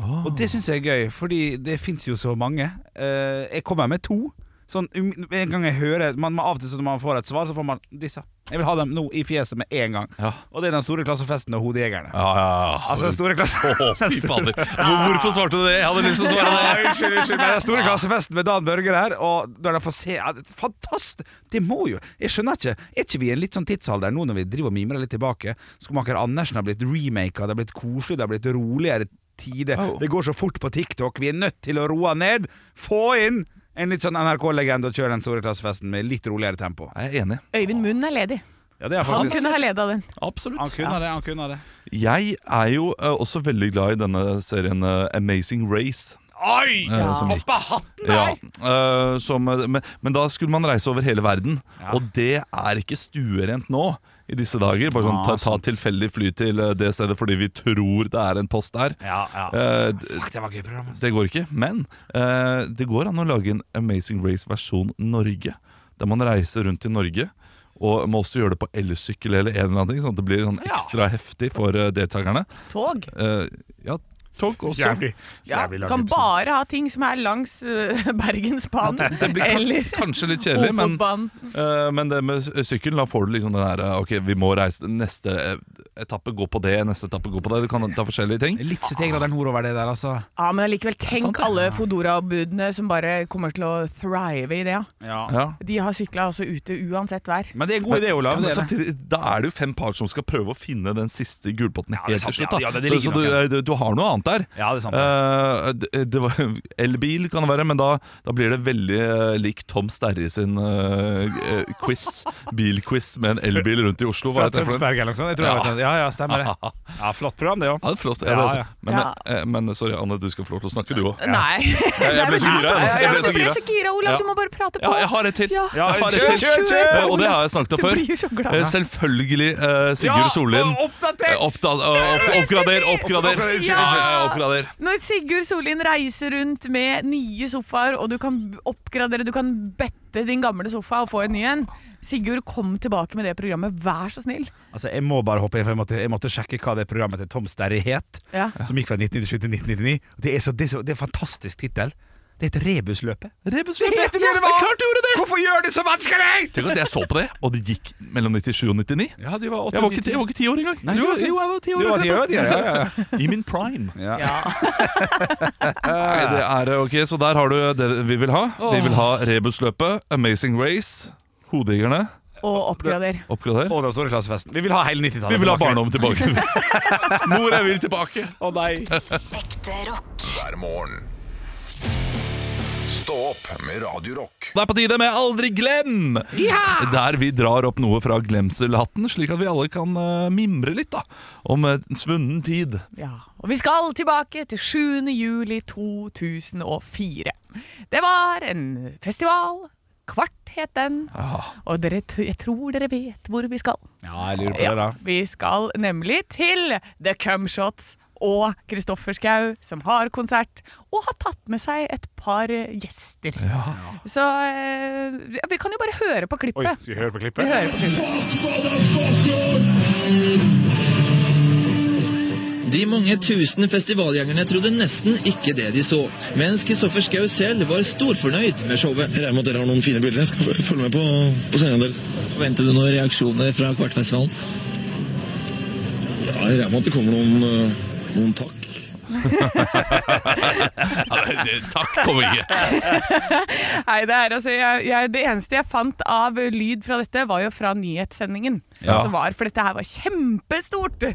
Speaker 3: Ah.
Speaker 2: Og det syns jeg er gøy, fordi det fins jo så mange. Eh, jeg kommer med to. Sånn, um, med en gang jeg hører man, man, Av og til så når man får et svar, så får man disse. Jeg vil ha dem nå i fjeset med en gang.
Speaker 3: Ja.
Speaker 2: Og det er Den store klassefesten og Hodejegerne.
Speaker 3: Ja, ja, ja.
Speaker 2: Altså den store klasse... <laughs>
Speaker 3: Å, fy fader. Hvor- Hvorfor svarte du det? Jeg hadde lyst til å svare det.
Speaker 2: Ja, unnskyld, unnskyld. Men den store klassefesten med Dan Børger her, og når de får se ja, det er Fantastisk! Det må jo Jeg skjønner ikke. Er ikke vi i en litt sånn tidsalder nå når vi driver og mimrer litt tilbake? Skomaker Andersen har blitt remaka, det har blitt koselig, det har blitt roligere tider.
Speaker 3: Oh.
Speaker 2: Det går så fort på TikTok. Vi er nødt til å roe ned. Få inn en litt sånn NRK-legende og kjøre den store klassefesten med litt roligere tempo.
Speaker 3: Jeg er enig.
Speaker 4: Øyvind Munn er ledig.
Speaker 2: Ja, det er
Speaker 4: Han
Speaker 2: faktisk
Speaker 4: kunne ha leda den.
Speaker 2: Han
Speaker 3: Absolutt.
Speaker 2: kunne det, han kunne det.
Speaker 3: Jeg er jo eh, også veldig glad i denne serien eh, Amazing Race.
Speaker 2: Oi!
Speaker 3: eh, som gikk.
Speaker 2: Hoppa hatten
Speaker 3: Ja,
Speaker 2: der!
Speaker 3: eh, som, eh, men, men da skulle man reise over hele verden,
Speaker 2: Ja.
Speaker 3: og det er ikke stuerent nå. I disse dager, Bare sånn
Speaker 2: Ah,
Speaker 3: ta, ta
Speaker 2: sant.
Speaker 3: tilfeldig fly til eh, det stedet fordi vi tror det er en post der.
Speaker 2: Ja, ja.
Speaker 3: Eh, d-
Speaker 2: Fuck, det var gøy program. ass.
Speaker 3: det går ikke. Men eh, det går an å lage en Amazing Race-versjon Norge. Der man reiser rundt i Norge og må også gjøre det på elsykkel eller en eller annen ting. Sånn at det blir sånn
Speaker 2: Ja.
Speaker 3: ekstra heftig for eh, deltakerne.
Speaker 4: Tog.
Speaker 3: Eh, ja, tog også.
Speaker 2: Jævlig,
Speaker 4: Ja,
Speaker 2: jævlig lang
Speaker 4: kan
Speaker 2: episode.
Speaker 4: bare ha ting som er langs eh, <laughs> Bergensbanen
Speaker 3: Det blir kan-
Speaker 4: eller
Speaker 3: kanskje litt
Speaker 4: <laughs>
Speaker 3: kjedelig, men,
Speaker 4: Ofotbanen.
Speaker 3: eh, men det med sykkelen, da får du liksom den der eh, Ok, vi må reise Neste e-, etappe går på det, neste etappe går på det. Du kan ta forskjellige ting.
Speaker 2: Litt 73-graderen hord over det der, altså.
Speaker 4: Ja, men allikevel, tenk alle Fodora-budene som bare kommer til å thrive i det. ja.
Speaker 3: Ja.
Speaker 4: De har sykla altså ute uansett vær.
Speaker 2: Men det er en god idé, Olav.
Speaker 3: Ja, men
Speaker 2: det er det.
Speaker 3: samtidig, da er det jo fem par som skal prøve å finne den siste
Speaker 2: det
Speaker 3: gulpotten
Speaker 2: er
Speaker 3: helt til
Speaker 2: sant,
Speaker 3: slutt. Da.
Speaker 2: ja, ja, det- det
Speaker 3: så
Speaker 2: ligger
Speaker 3: du,
Speaker 2: nok,
Speaker 3: du, du har noe annet der.
Speaker 2: Ja, det er sant,
Speaker 3: Eh, det, det var, <laughs> elbil kan det være, men da, da blir det veldig eh, lik Tom Sterri sin eh, eh,
Speaker 2: <laughs>
Speaker 3: quiz, bilquiz med en elbil rundt i Oslo. Hva
Speaker 2: Fra
Speaker 3: heter det for noe?
Speaker 2: Tønsberg eller noe sånt. Jeg tror jeg vet det. Ja, ja, <laughs> stemmer det. Ja, Flott program, det òg.
Speaker 3: Ja, det er flott. Ja,
Speaker 2: Ja,
Speaker 3: det er
Speaker 2: ja.
Speaker 3: så- Men,
Speaker 4: Ja.
Speaker 3: eh, men sorry, Anne, du skal få lov til å snakke, du òg.
Speaker 4: Nei.
Speaker 3: Jeg,
Speaker 4: <laughs>
Speaker 3: jeg ble så gira. jeg. Jeg ble så gira.
Speaker 4: gira, Olav.
Speaker 3: Ja.
Speaker 4: Du må bare prate på.
Speaker 3: Ja, jeg har et til.
Speaker 4: Ja.
Speaker 3: Jeg har et
Speaker 2: kjør,
Speaker 3: til.
Speaker 2: kjør, kjør!
Speaker 3: Eh, Og det har jeg snakket om
Speaker 4: Du
Speaker 3: før.
Speaker 4: blir så glad.
Speaker 3: Eh, Selvfølgelig eh, Sigurd Sollien.
Speaker 2: og oppdatert!
Speaker 3: Eh, oppda- eh, opp, oppgrader, oppgrader.
Speaker 2: Oppgrader,
Speaker 4: unnskyld,
Speaker 3: Ja,
Speaker 4: unnskyld.
Speaker 3: oppgrader.
Speaker 4: Når Sigurd Sollien reiser rundt med nye sofaer, og du kan oppgradere, du kan bette din gamle sofa og få en ny en. Sigurd, kom tilbake med det programmet, vær så snill.
Speaker 2: Altså, jeg må bare hoppe inn, for jeg måtte, jeg måtte sjekke hva det programmet til Tom Sterry het.
Speaker 4: Ja.
Speaker 2: Som gikk fra 1997 til 1999. Og Det er, så, det er, så, det er en fantastisk tittel. Det heter Rebusløpet.
Speaker 3: Rebusløpet.
Speaker 2: Det heter det det var!
Speaker 3: er klart du gjorde det!
Speaker 2: Hvorfor gjør det så vanskelig?!
Speaker 3: Tenk at jeg så på det, og det gikk mellom 97 og 99.
Speaker 2: Ja, du var
Speaker 3: Jeg var ikke, jeg var ikke ti år engang.
Speaker 2: Nei, du var ikke-
Speaker 3: jo, jeg var ti år.
Speaker 2: Du var ti år, ja, ja, ja.
Speaker 3: I min prime.
Speaker 4: Ja.
Speaker 3: Nei, det er ok, Så der har du det vi vil ha. Vi vil ha Rebusløpet, Amazing Race, Hodejegerne,
Speaker 4: Og oppgrader.
Speaker 3: Oppgrader.
Speaker 2: Og den store klassefesten. Vi vil ha hele 90-tallet.
Speaker 3: Vi vil ha
Speaker 2: tilbake.
Speaker 3: barndommen
Speaker 2: <laughs>
Speaker 3: tilbake. Mor, jeg vil tilbake.
Speaker 2: Å nei.
Speaker 5: Ekte rock.
Speaker 1: hver morgen. Stå opp med Radio Rock.
Speaker 3: Det er på tide med Aldri glem! Der vi drar opp noe fra glemselhatten, slik at vi alle kan eh, mimre litt da om eh, svunnen tid.
Speaker 4: Ja. Og vi skal tilbake til 7. juli 2004. Det var en festival. Kvart het den.
Speaker 2: Ah.
Speaker 4: Og dere, t- jeg tror dere vet hvor vi skal.
Speaker 2: <laughs> Ja, jeg lurer på det,
Speaker 4: Ja,
Speaker 2: da.
Speaker 4: vi skal nemlig til The Cumshots og Kristoffer Schau, som har konsert og har tatt med seg et par eh, gjester. Så eh, ja, vi kan jo bare høre på
Speaker 2: Oi,
Speaker 4: klippet.
Speaker 2: skal vi høre på
Speaker 4: Vi
Speaker 2: klippet?
Speaker 4: hører på klippet.
Speaker 9: De mange tusen festivalgjengerne trodde nesten ikke det de så, mens Kristoffer Schau selv var storfornøyd med showet. Jeg regner med at dere har noen fine bilder. Jeg skal følge med på, på scenen deres. Venter du noen reaksjoner fra kvartfestivalen? Ja, jeg regner med at det kommer noen, eh, noen takk.
Speaker 3: takk, kom <laughs> ikke.
Speaker 4: Nei, det, er, altså, jeg, jeg, det eneste jeg fant av lyd fra dette, var jo fra nyhetssendingen.
Speaker 3: Ja.
Speaker 4: Som var, for dette her var kjempestort.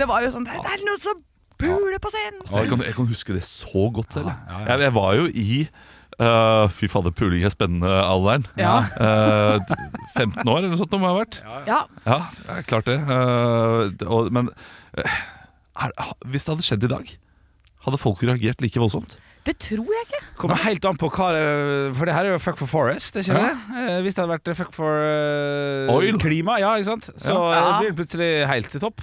Speaker 4: Det var jo sånn Det er noen som puler på scenen!
Speaker 3: Jeg kan, jeg kan huske det så godt selv. jeg. Jeg, jeg var jo i eh, Fy fader, puling er spennende alderen.
Speaker 4: Ja.
Speaker 3: Eh, d- 15 år eller noe sånt må jeg ha vært.
Speaker 4: Ja,
Speaker 3: Ja, det er klart det. Eh, d- og, men eh, er, hvis det hadde skjedd i dag, hadde folk reagert like voldsomt?
Speaker 4: det tror jeg ikke.
Speaker 2: Kommer helt an på hva det- For det her er jo Fuck for Forest, er ikke
Speaker 3: Ja.
Speaker 2: det? Eh, Hvis det hadde vært Fuck for eh,
Speaker 3: Oil.
Speaker 2: klima, ja, ikke sant? Så
Speaker 4: Ja.
Speaker 2: eh, blir det plutselig helt til topp.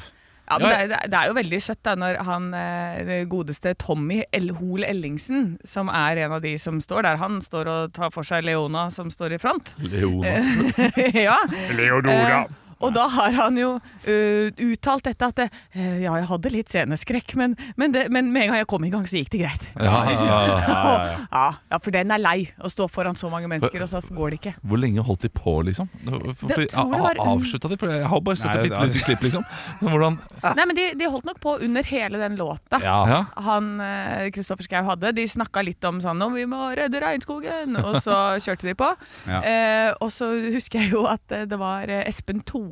Speaker 4: Ja, men
Speaker 3: Ja,
Speaker 4: det, er- det er, det er jo veldig søtt da når han eh, det godeste Tommy El Hol Ellingsen, som er en av de som står der, han står og tar for seg Leona som står i front.
Speaker 3: Leonas.
Speaker 4: <laughs> ja.
Speaker 2: Leonora.
Speaker 4: Eh, og da har han jo eh, uttalt dette at det, eh, Ja, jeg hadde litt sceneskrekk, men, men, det, men med en gang jeg kom i gang, så gikk det greit.
Speaker 3: Ja, ja, ja.
Speaker 4: <laughs> ja, ja, for den er lei, å stå foran så mange mennesker, og så går det ikke.
Speaker 3: <laughs> Hvor lenge holdt de på, liksom? For, for,
Speaker 4: Det- tror det
Speaker 3: a- a-
Speaker 4: var un-
Speaker 3: Avslutta de? For jeg har bare sett
Speaker 2: Nei,
Speaker 3: et
Speaker 2: det
Speaker 3: bitte lite
Speaker 2: er-
Speaker 3: klipp, liksom. Men Hvordan
Speaker 4: Nei, men de, de holdt nok på under hele den låta.
Speaker 3: Ja.
Speaker 4: han eh, Kristoffer Schau hadde. De snakka litt om sånn om vi må redde regnskogen, og så
Speaker 3: <laughs>
Speaker 4: kjørte de på.
Speaker 2: Ja.
Speaker 4: Eh, og så husker jeg jo at eh, det var eh, Espen Thoresen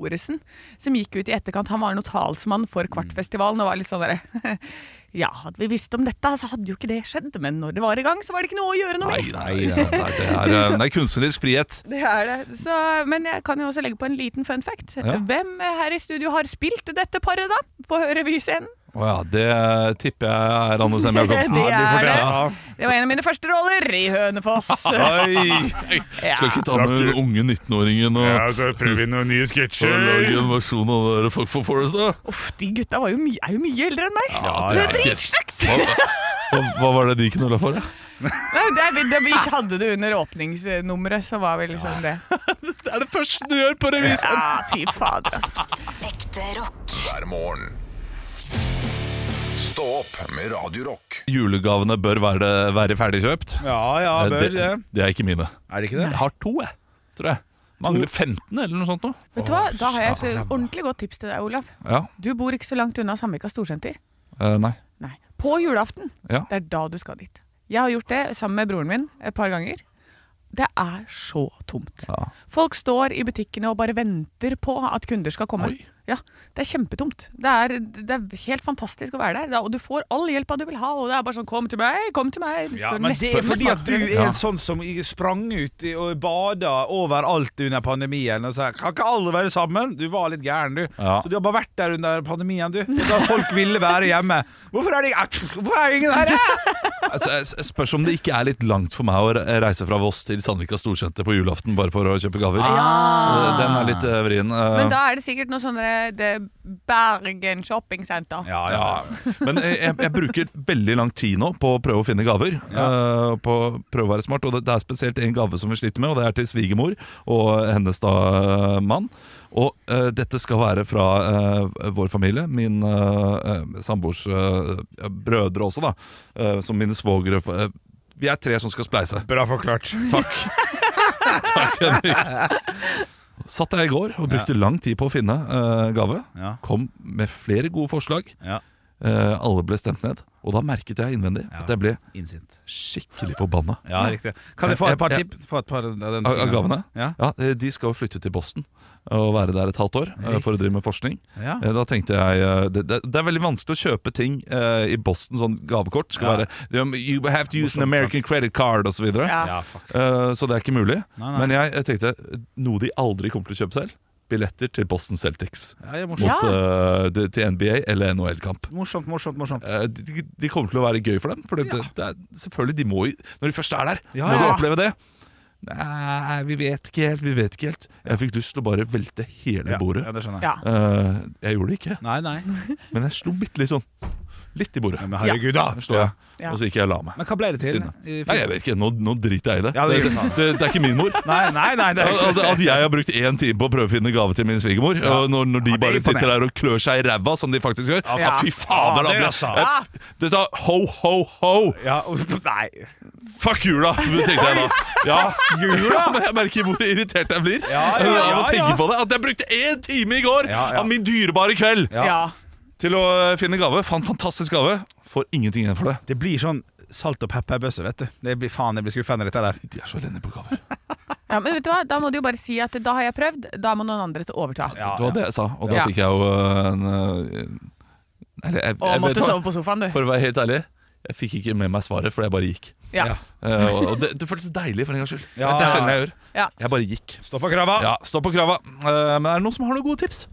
Speaker 4: som gikk ut i etterkant. Han var noe talsmann
Speaker 3: Mm.
Speaker 4: for Kvartfestivalen og var litt sånn derre <laughs> Ja, hadde vi visst om dette, så hadde jo ikke det skjedd. Men når det var i gang, så var det ikke noe å gjøre noe
Speaker 3: Nei,
Speaker 4: med.
Speaker 3: nei, det er, det er, eh, det er kunstnerisk frihet.
Speaker 4: Det er det. Så, men jeg kan jo også legge på en liten fun fact.
Speaker 3: Ja.
Speaker 4: Hvem eh, her i studio har spilt dette paret, da? På revyscenen?
Speaker 3: Å ja, det eh, tipper jeg er Anne Sem Jacobsen.
Speaker 4: <laughs> Det er det.
Speaker 2: Ja.
Speaker 4: Det var en av mine første roller i Hønefoss.
Speaker 3: Oi! Skal ikke ta med den unge 19-åringen og
Speaker 2: så prøver vi noen nye
Speaker 3: og lage en versjon av det der Fuck for Forest, da?
Speaker 4: Uff, de gutta var jo my er jo mye eldre enn meg! det er
Speaker 3: ikke-
Speaker 4: dritstygt!
Speaker 3: Hva, hva, hva var det de knulla for? da?
Speaker 4: <laughs> Nei, det er- det- Vi hadde det under åpningsnummeret, så var vi liksom det.
Speaker 3: Det er det første du gjør på revisen!
Speaker 4: Ja, fy fader. ass.
Speaker 5: Ekte rock.
Speaker 1: hver morgen. Stå opp med Radio Rock.
Speaker 3: Julegavene bør være, være ferdigkjøpt.
Speaker 2: Ja, ja,
Speaker 3: Eh,
Speaker 2: bør det.
Speaker 3: det er ikke mine.
Speaker 2: Er det ikke det?
Speaker 3: Jeg har to, jeg. Tror jeg. Mangler 15 eller noe sånt noe.
Speaker 4: Vet du hva, Da har jeg et ordentlig godt tips til deg, Olav.
Speaker 3: Ja.
Speaker 4: Du bor ikke så langt unna Samvika storsenter.
Speaker 3: eh, nei.
Speaker 4: Nei. På julaften.
Speaker 3: Ja.
Speaker 4: Det er da du skal dit. Jeg har gjort det sammen med broren min et par ganger. Det er så tomt.
Speaker 3: Ja.
Speaker 4: Folk står i butikkene og bare venter på at kunder skal komme.
Speaker 3: Oi.
Speaker 4: Ja, Det er kjempetomt. Det er, det er helt fantastisk å være der. Da- Og du får all hjelpa du vil ha. Og det er bare sånn 'kom til meg, kom til meg'. Det
Speaker 2: Ja,
Speaker 4: står
Speaker 2: men
Speaker 4: nesten
Speaker 2: det er fordi at du
Speaker 4: smakprøve.
Speaker 2: er en sånn som sprang ut i- og bada overalt under pandemien og sa Kan ikke alle være sammen? Du var litt gæren, du.
Speaker 3: Ja.
Speaker 2: Så du har bare vært der under pandemien, du. Da folk ville være hjemme. Hvorfor er det Hvorfor er det ingen her? ja?
Speaker 3: Altså, jeg s- spørs om det ikke er litt langt for meg å re- reise fra Voss til Sandvika storsenter på julaften bare for å kjøpe gaver. Eh, Den er litt eh, vrien. eh.
Speaker 4: Men da er det sikkert noe sånn eh, det Bergen shoppingsenter.
Speaker 2: Ja, ja.
Speaker 3: Ja, men jeg, jeg- jeg bruker veldig lang tid nå på å prøve å finne gaver. eh, på å prøve å være smart Og det, det er spesielt en gave som vi sliter med, og det er til svigermor og hennes da eh, mann. Og eh, dette skal være fra eh, vår familie, min eh, eh, samboers eh, brødre også, da. eh, som mine svogere eh, Vi er tre som skal spleise.
Speaker 2: Bra forklart.
Speaker 3: Takk. Takk, Henrik. Satt jeg i går og brukte lang tid på å finne eh, gave.
Speaker 2: Ja.
Speaker 3: Kom med flere gode forslag.
Speaker 2: Ja.
Speaker 3: Eh, alle ble stemt ned. Og da merket jeg innvendig at jeg ble
Speaker 2: Innsint.
Speaker 3: skikkelig forbanna.
Speaker 2: Ja, riktig. Kan jeg få et par tipp? Få et par av den
Speaker 3: Av av
Speaker 2: tingen?
Speaker 3: gavene?
Speaker 2: Ja.
Speaker 3: Ja, eh, De skal jo flytte til Boston og være der et halvt år eh, for å drive med forskning.
Speaker 2: Ja.
Speaker 3: Eh, Da tenkte jeg eh, det, det, det er veldig vanskelig å kjøpe ting eh, i Boston, sånn gavekort.
Speaker 2: Ja.
Speaker 3: Skal være You have to use an American credit card osv. Så, videre.
Speaker 2: Ja, fuck.
Speaker 3: Eh, så det er ikke mulig.
Speaker 2: Nei, nei.
Speaker 3: Men jeg, jeg tenkte noe de aldri kommer til å kjøpe selv. Billetter til Boston Celtics
Speaker 2: Ja, det er
Speaker 3: mot,
Speaker 2: morsomt.
Speaker 3: eh, det- til NBA eller NHL-kamp.
Speaker 2: Morsomt, morsomt, morsomt.
Speaker 3: Eh, de, de kommer til å være gøy for dem. For det, det, det er, selvfølgelig, de må jo Når de først er der,
Speaker 2: Ja,
Speaker 3: må de
Speaker 2: ja.
Speaker 3: oppleve det. Nei, vi vet ikke helt, vi vet ikke helt. Jeg fikk lyst til å bare velte hele
Speaker 2: Ja,
Speaker 3: bordet.
Speaker 2: Ja, det skjønner jeg.
Speaker 4: Ja.
Speaker 3: Eh, jeg gjorde det ikke,
Speaker 2: Nei, nei.
Speaker 3: men jeg slo bitt litt sånn. Litt i bordet.
Speaker 2: Men herregud, da.
Speaker 3: Der slår jeg.
Speaker 4: Ja.
Speaker 3: Og så gikk jeg og la meg.
Speaker 2: Men hva ble det til?
Speaker 3: Synd, da.
Speaker 2: I-
Speaker 3: Nei, jeg vet ikke, nå, nå driter jeg i det.
Speaker 2: Ja, det
Speaker 3: det,
Speaker 2: gjør
Speaker 3: det,
Speaker 2: faen.
Speaker 3: det, er ikke min
Speaker 2: <laughs>
Speaker 3: mor.
Speaker 2: Nei, nei, nei, det er
Speaker 3: At,
Speaker 2: ikke
Speaker 3: at jeg har brukt én time på å prøve å finne gave til min svigermor, og når, når de
Speaker 2: Ja, det er
Speaker 3: bare sitter
Speaker 2: imponerende.
Speaker 3: der og klør seg i ræva, som de faktisk gjør Ja,
Speaker 2: faen.
Speaker 3: fy fader,
Speaker 2: Ja, det
Speaker 3: da!
Speaker 2: altså.
Speaker 3: blir- Jeg- Det tar ho, ho, ho!
Speaker 2: ja, Nei.
Speaker 3: Fuck jula, tenkte jeg da. Ja, jula? <laughs> Jeg merker hvor irritert jeg blir
Speaker 2: Ja, ja, ja,
Speaker 3: av å tenke
Speaker 2: ja.
Speaker 3: på det. At jeg brukte én time i går
Speaker 2: Ja, ja.
Speaker 3: av min dyrebare kveld
Speaker 2: Ja.
Speaker 4: ja.
Speaker 3: til å finne gave. Fant fantastisk gave. Får ingenting igjen for det.
Speaker 2: Det blir sånn salt og pepperbøsse, vet du. Det blir faen, jeg blir skuffende dette der.
Speaker 3: De er så elendige på gaver.
Speaker 4: Ja, men vet du hva? Da må du jo bare si at da har jeg prøvd, da må noen andre til å overta.
Speaker 2: Ja,
Speaker 3: Det var det jeg sa, og da
Speaker 4: Ja.
Speaker 3: fikk jeg jo øh, en øh, Eller jeg,
Speaker 4: Og
Speaker 3: jeg vet
Speaker 4: måtte
Speaker 3: hva,
Speaker 4: sove på sofaen, du.
Speaker 3: For å være helt ærlig, jeg fikk ikke med meg svaret, for jeg bare gikk.
Speaker 4: Ja.
Speaker 3: Eh, og og det, det føltes deilig, for en gangs skyld.
Speaker 2: Ja.
Speaker 3: Det er sjelden jeg gjør.
Speaker 4: Ja.
Speaker 3: Jeg bare gikk.
Speaker 2: Stå på krava.
Speaker 3: Ja, Stå på krava. Eh, men er det noen som har noen gode <laughs> tips?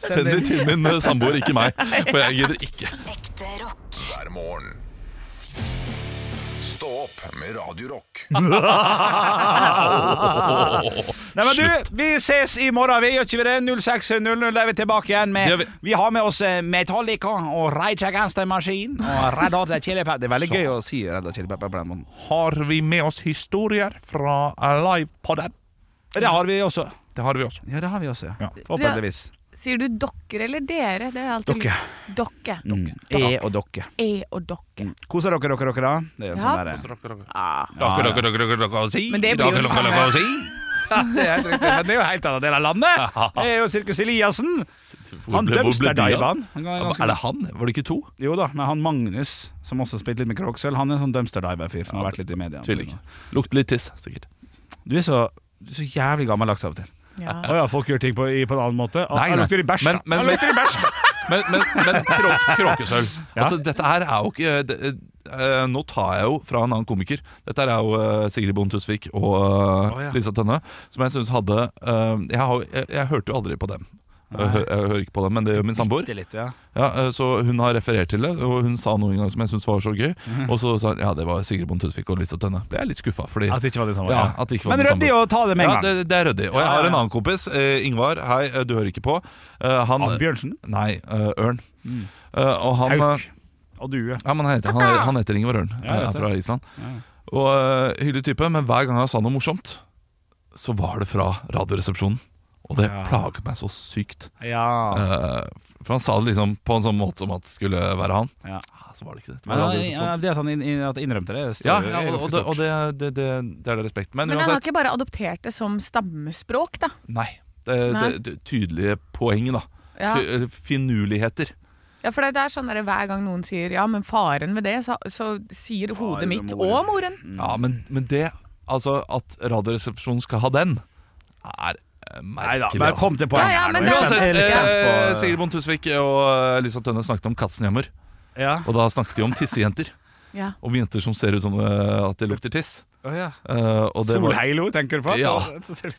Speaker 3: Send de til min eh, samboer, ikke meg. For jeg gidder ikke.
Speaker 5: Ekte rock.
Speaker 1: hver morgen. Stå opp med Radio Rock.
Speaker 2: Nei, men du, vi ses i morgen, vi. Gjør ikke vi det? 06.00 er vi tilbake igjen med
Speaker 3: Det gjør
Speaker 2: vi.
Speaker 3: vi.
Speaker 2: har med oss eh, Metallica og Rage Against the Machine og Red Hot Chili Pepper. Det er veldig gøy å si Red Hot Chili Pepper på den måten.
Speaker 3: Har vi med oss historier fra livepoden?
Speaker 2: Det har vi også.
Speaker 3: Det har vi også.
Speaker 2: Ja, det har vi også, ja.
Speaker 3: Ja.
Speaker 2: Forhåpentligvis.
Speaker 4: Sier du dokker eller dere? Det er alltid
Speaker 2: Dokke.
Speaker 4: litt- Dokke.
Speaker 2: Mm. E og Mm. dokke.
Speaker 4: E og dokke.
Speaker 2: Koser dere, dere, dere, da? Det er jo en
Speaker 4: Ja.
Speaker 2: sånn derre
Speaker 4: Men det blir jo det samme.
Speaker 2: <laughs> Det er helt riktig, men det er jo helt annet del av landet.
Speaker 3: <laughs>
Speaker 2: Det er jo Sirkus Eliassen. Han dumpster-diver.
Speaker 3: Er det han? Var det ikke to?
Speaker 2: Jo da, men han Magnus, som også spilte litt med Kroksøl, han er en sånn dumpster-diver-fyr. som har vært litt i media.
Speaker 3: Tviler ikke. Lukter litt tiss, sikkert.
Speaker 2: Du er så, du er så jævlig gammeldags av og til.
Speaker 4: Ja.
Speaker 2: Å ja, folk gjør ting på, i, på en annen måte. Ah, han lukter i bæsj,
Speaker 3: men,
Speaker 2: da.
Speaker 3: men,
Speaker 2: Han
Speaker 3: men,
Speaker 2: lukter i bæsj, da.
Speaker 3: men, men, men krå, kråkesølv. Altså, dette her er jo ikke det, eh, Nå tar jeg jo fra en annen komiker. Dette her er jo eh, Sigrid Bonde Tusvik og eh,
Speaker 2: Å, ja.
Speaker 3: Lisa Tønne, som jeg syns hadde eh, jeg, har, jeg, jeg hørte jo aldri på dem. Jeg, hø- jeg hører ikke på dem, men det gjør min samboer.
Speaker 2: Bitte litt, ja.
Speaker 3: Ja, eh, så hun har referert til det, og hun sa noe en gang som jeg syntes var så gøy.
Speaker 2: Mhm.
Speaker 3: Og så sa hun ja, det var Sigrid Bonde Tusvik og Lisa Tønne. Ble jeg litt skuffa, fordi
Speaker 2: At det ikke var det samme.
Speaker 3: Ja, at det ikke var
Speaker 2: men
Speaker 3: det
Speaker 2: ryddig å
Speaker 3: samme.
Speaker 2: ta det med en
Speaker 3: ja,
Speaker 2: gang.
Speaker 3: det, det er ryddig. Og
Speaker 2: Ja,
Speaker 3: jeg
Speaker 2: ja,
Speaker 3: har en
Speaker 2: ja.
Speaker 3: annen kompis, eh, Ingvar. Hei, eh, du hører ikke på. Eh, han,
Speaker 2: Ann Bjørnsen,
Speaker 3: Nei, eh, Ørn. Eh, og han,
Speaker 2: Mm. Hauk
Speaker 3: eh,
Speaker 2: og Due.
Speaker 3: ja, men han, heter, han, han heter Ingvar Ørn,
Speaker 2: Ja, jeg
Speaker 3: eh,
Speaker 2: vet det.
Speaker 3: fra Island.
Speaker 2: Ja.
Speaker 3: Og eh, Hyggelig type, men hver gang han sa noe morsomt, så var det fra Radioresepsjonen. og det
Speaker 2: Ja.
Speaker 3: plaget meg så sykt.
Speaker 2: Ja.
Speaker 3: Eh, for han sa det liksom på en sånn måte som at det skulle være han.
Speaker 2: Ja.
Speaker 3: Ah, Så var det ikke det. det, var
Speaker 2: Men
Speaker 3: aldri så
Speaker 2: ja, det at han inn, inn, at han innrømte det,
Speaker 3: Ja,
Speaker 2: står jo
Speaker 3: ja, og, og,
Speaker 2: ganske
Speaker 3: det,
Speaker 2: stort.
Speaker 3: og det, det, det, det er det respekt. Men,
Speaker 4: Men han har
Speaker 3: uansett
Speaker 4: ikke bare adoptert det som stammespråk, da.
Speaker 3: Nei. Det, det,
Speaker 4: Nei.
Speaker 3: det, tydelige poeng, da.
Speaker 4: Ja,
Speaker 3: Ty- eller Finurligheter.
Speaker 4: ja for det, det er sånn der, Hver gang noen sier 'ja, men faren ved det', så, så sier hodet
Speaker 2: Faren
Speaker 4: mitt
Speaker 2: og
Speaker 4: og
Speaker 2: moren.
Speaker 4: moren.
Speaker 3: Ja, men, men det Altså, at Radioresepsjonen skal ha den, er eh,
Speaker 2: Nei da,
Speaker 3: merkelig.
Speaker 2: men kom til poenget.
Speaker 4: Ja, ja,
Speaker 2: her
Speaker 4: men
Speaker 2: nå.
Speaker 4: det-
Speaker 2: Jeg er
Speaker 3: Uansett,
Speaker 2: spent- jeg er
Speaker 3: eh,
Speaker 2: litt
Speaker 3: Sigrid
Speaker 2: spent på-
Speaker 3: Bonde Tusvik og eh, Lisa Tønne snakket om Katzenjammer.
Speaker 2: Ja.
Speaker 3: Og da snakket de om tissejenter.
Speaker 4: Ja.
Speaker 3: Om jenter som ser ut som eh, at det lukter tiss.
Speaker 2: Å, ja.
Speaker 3: Eh, og det var,
Speaker 2: Solheilo, tenker du på?
Speaker 3: Ja.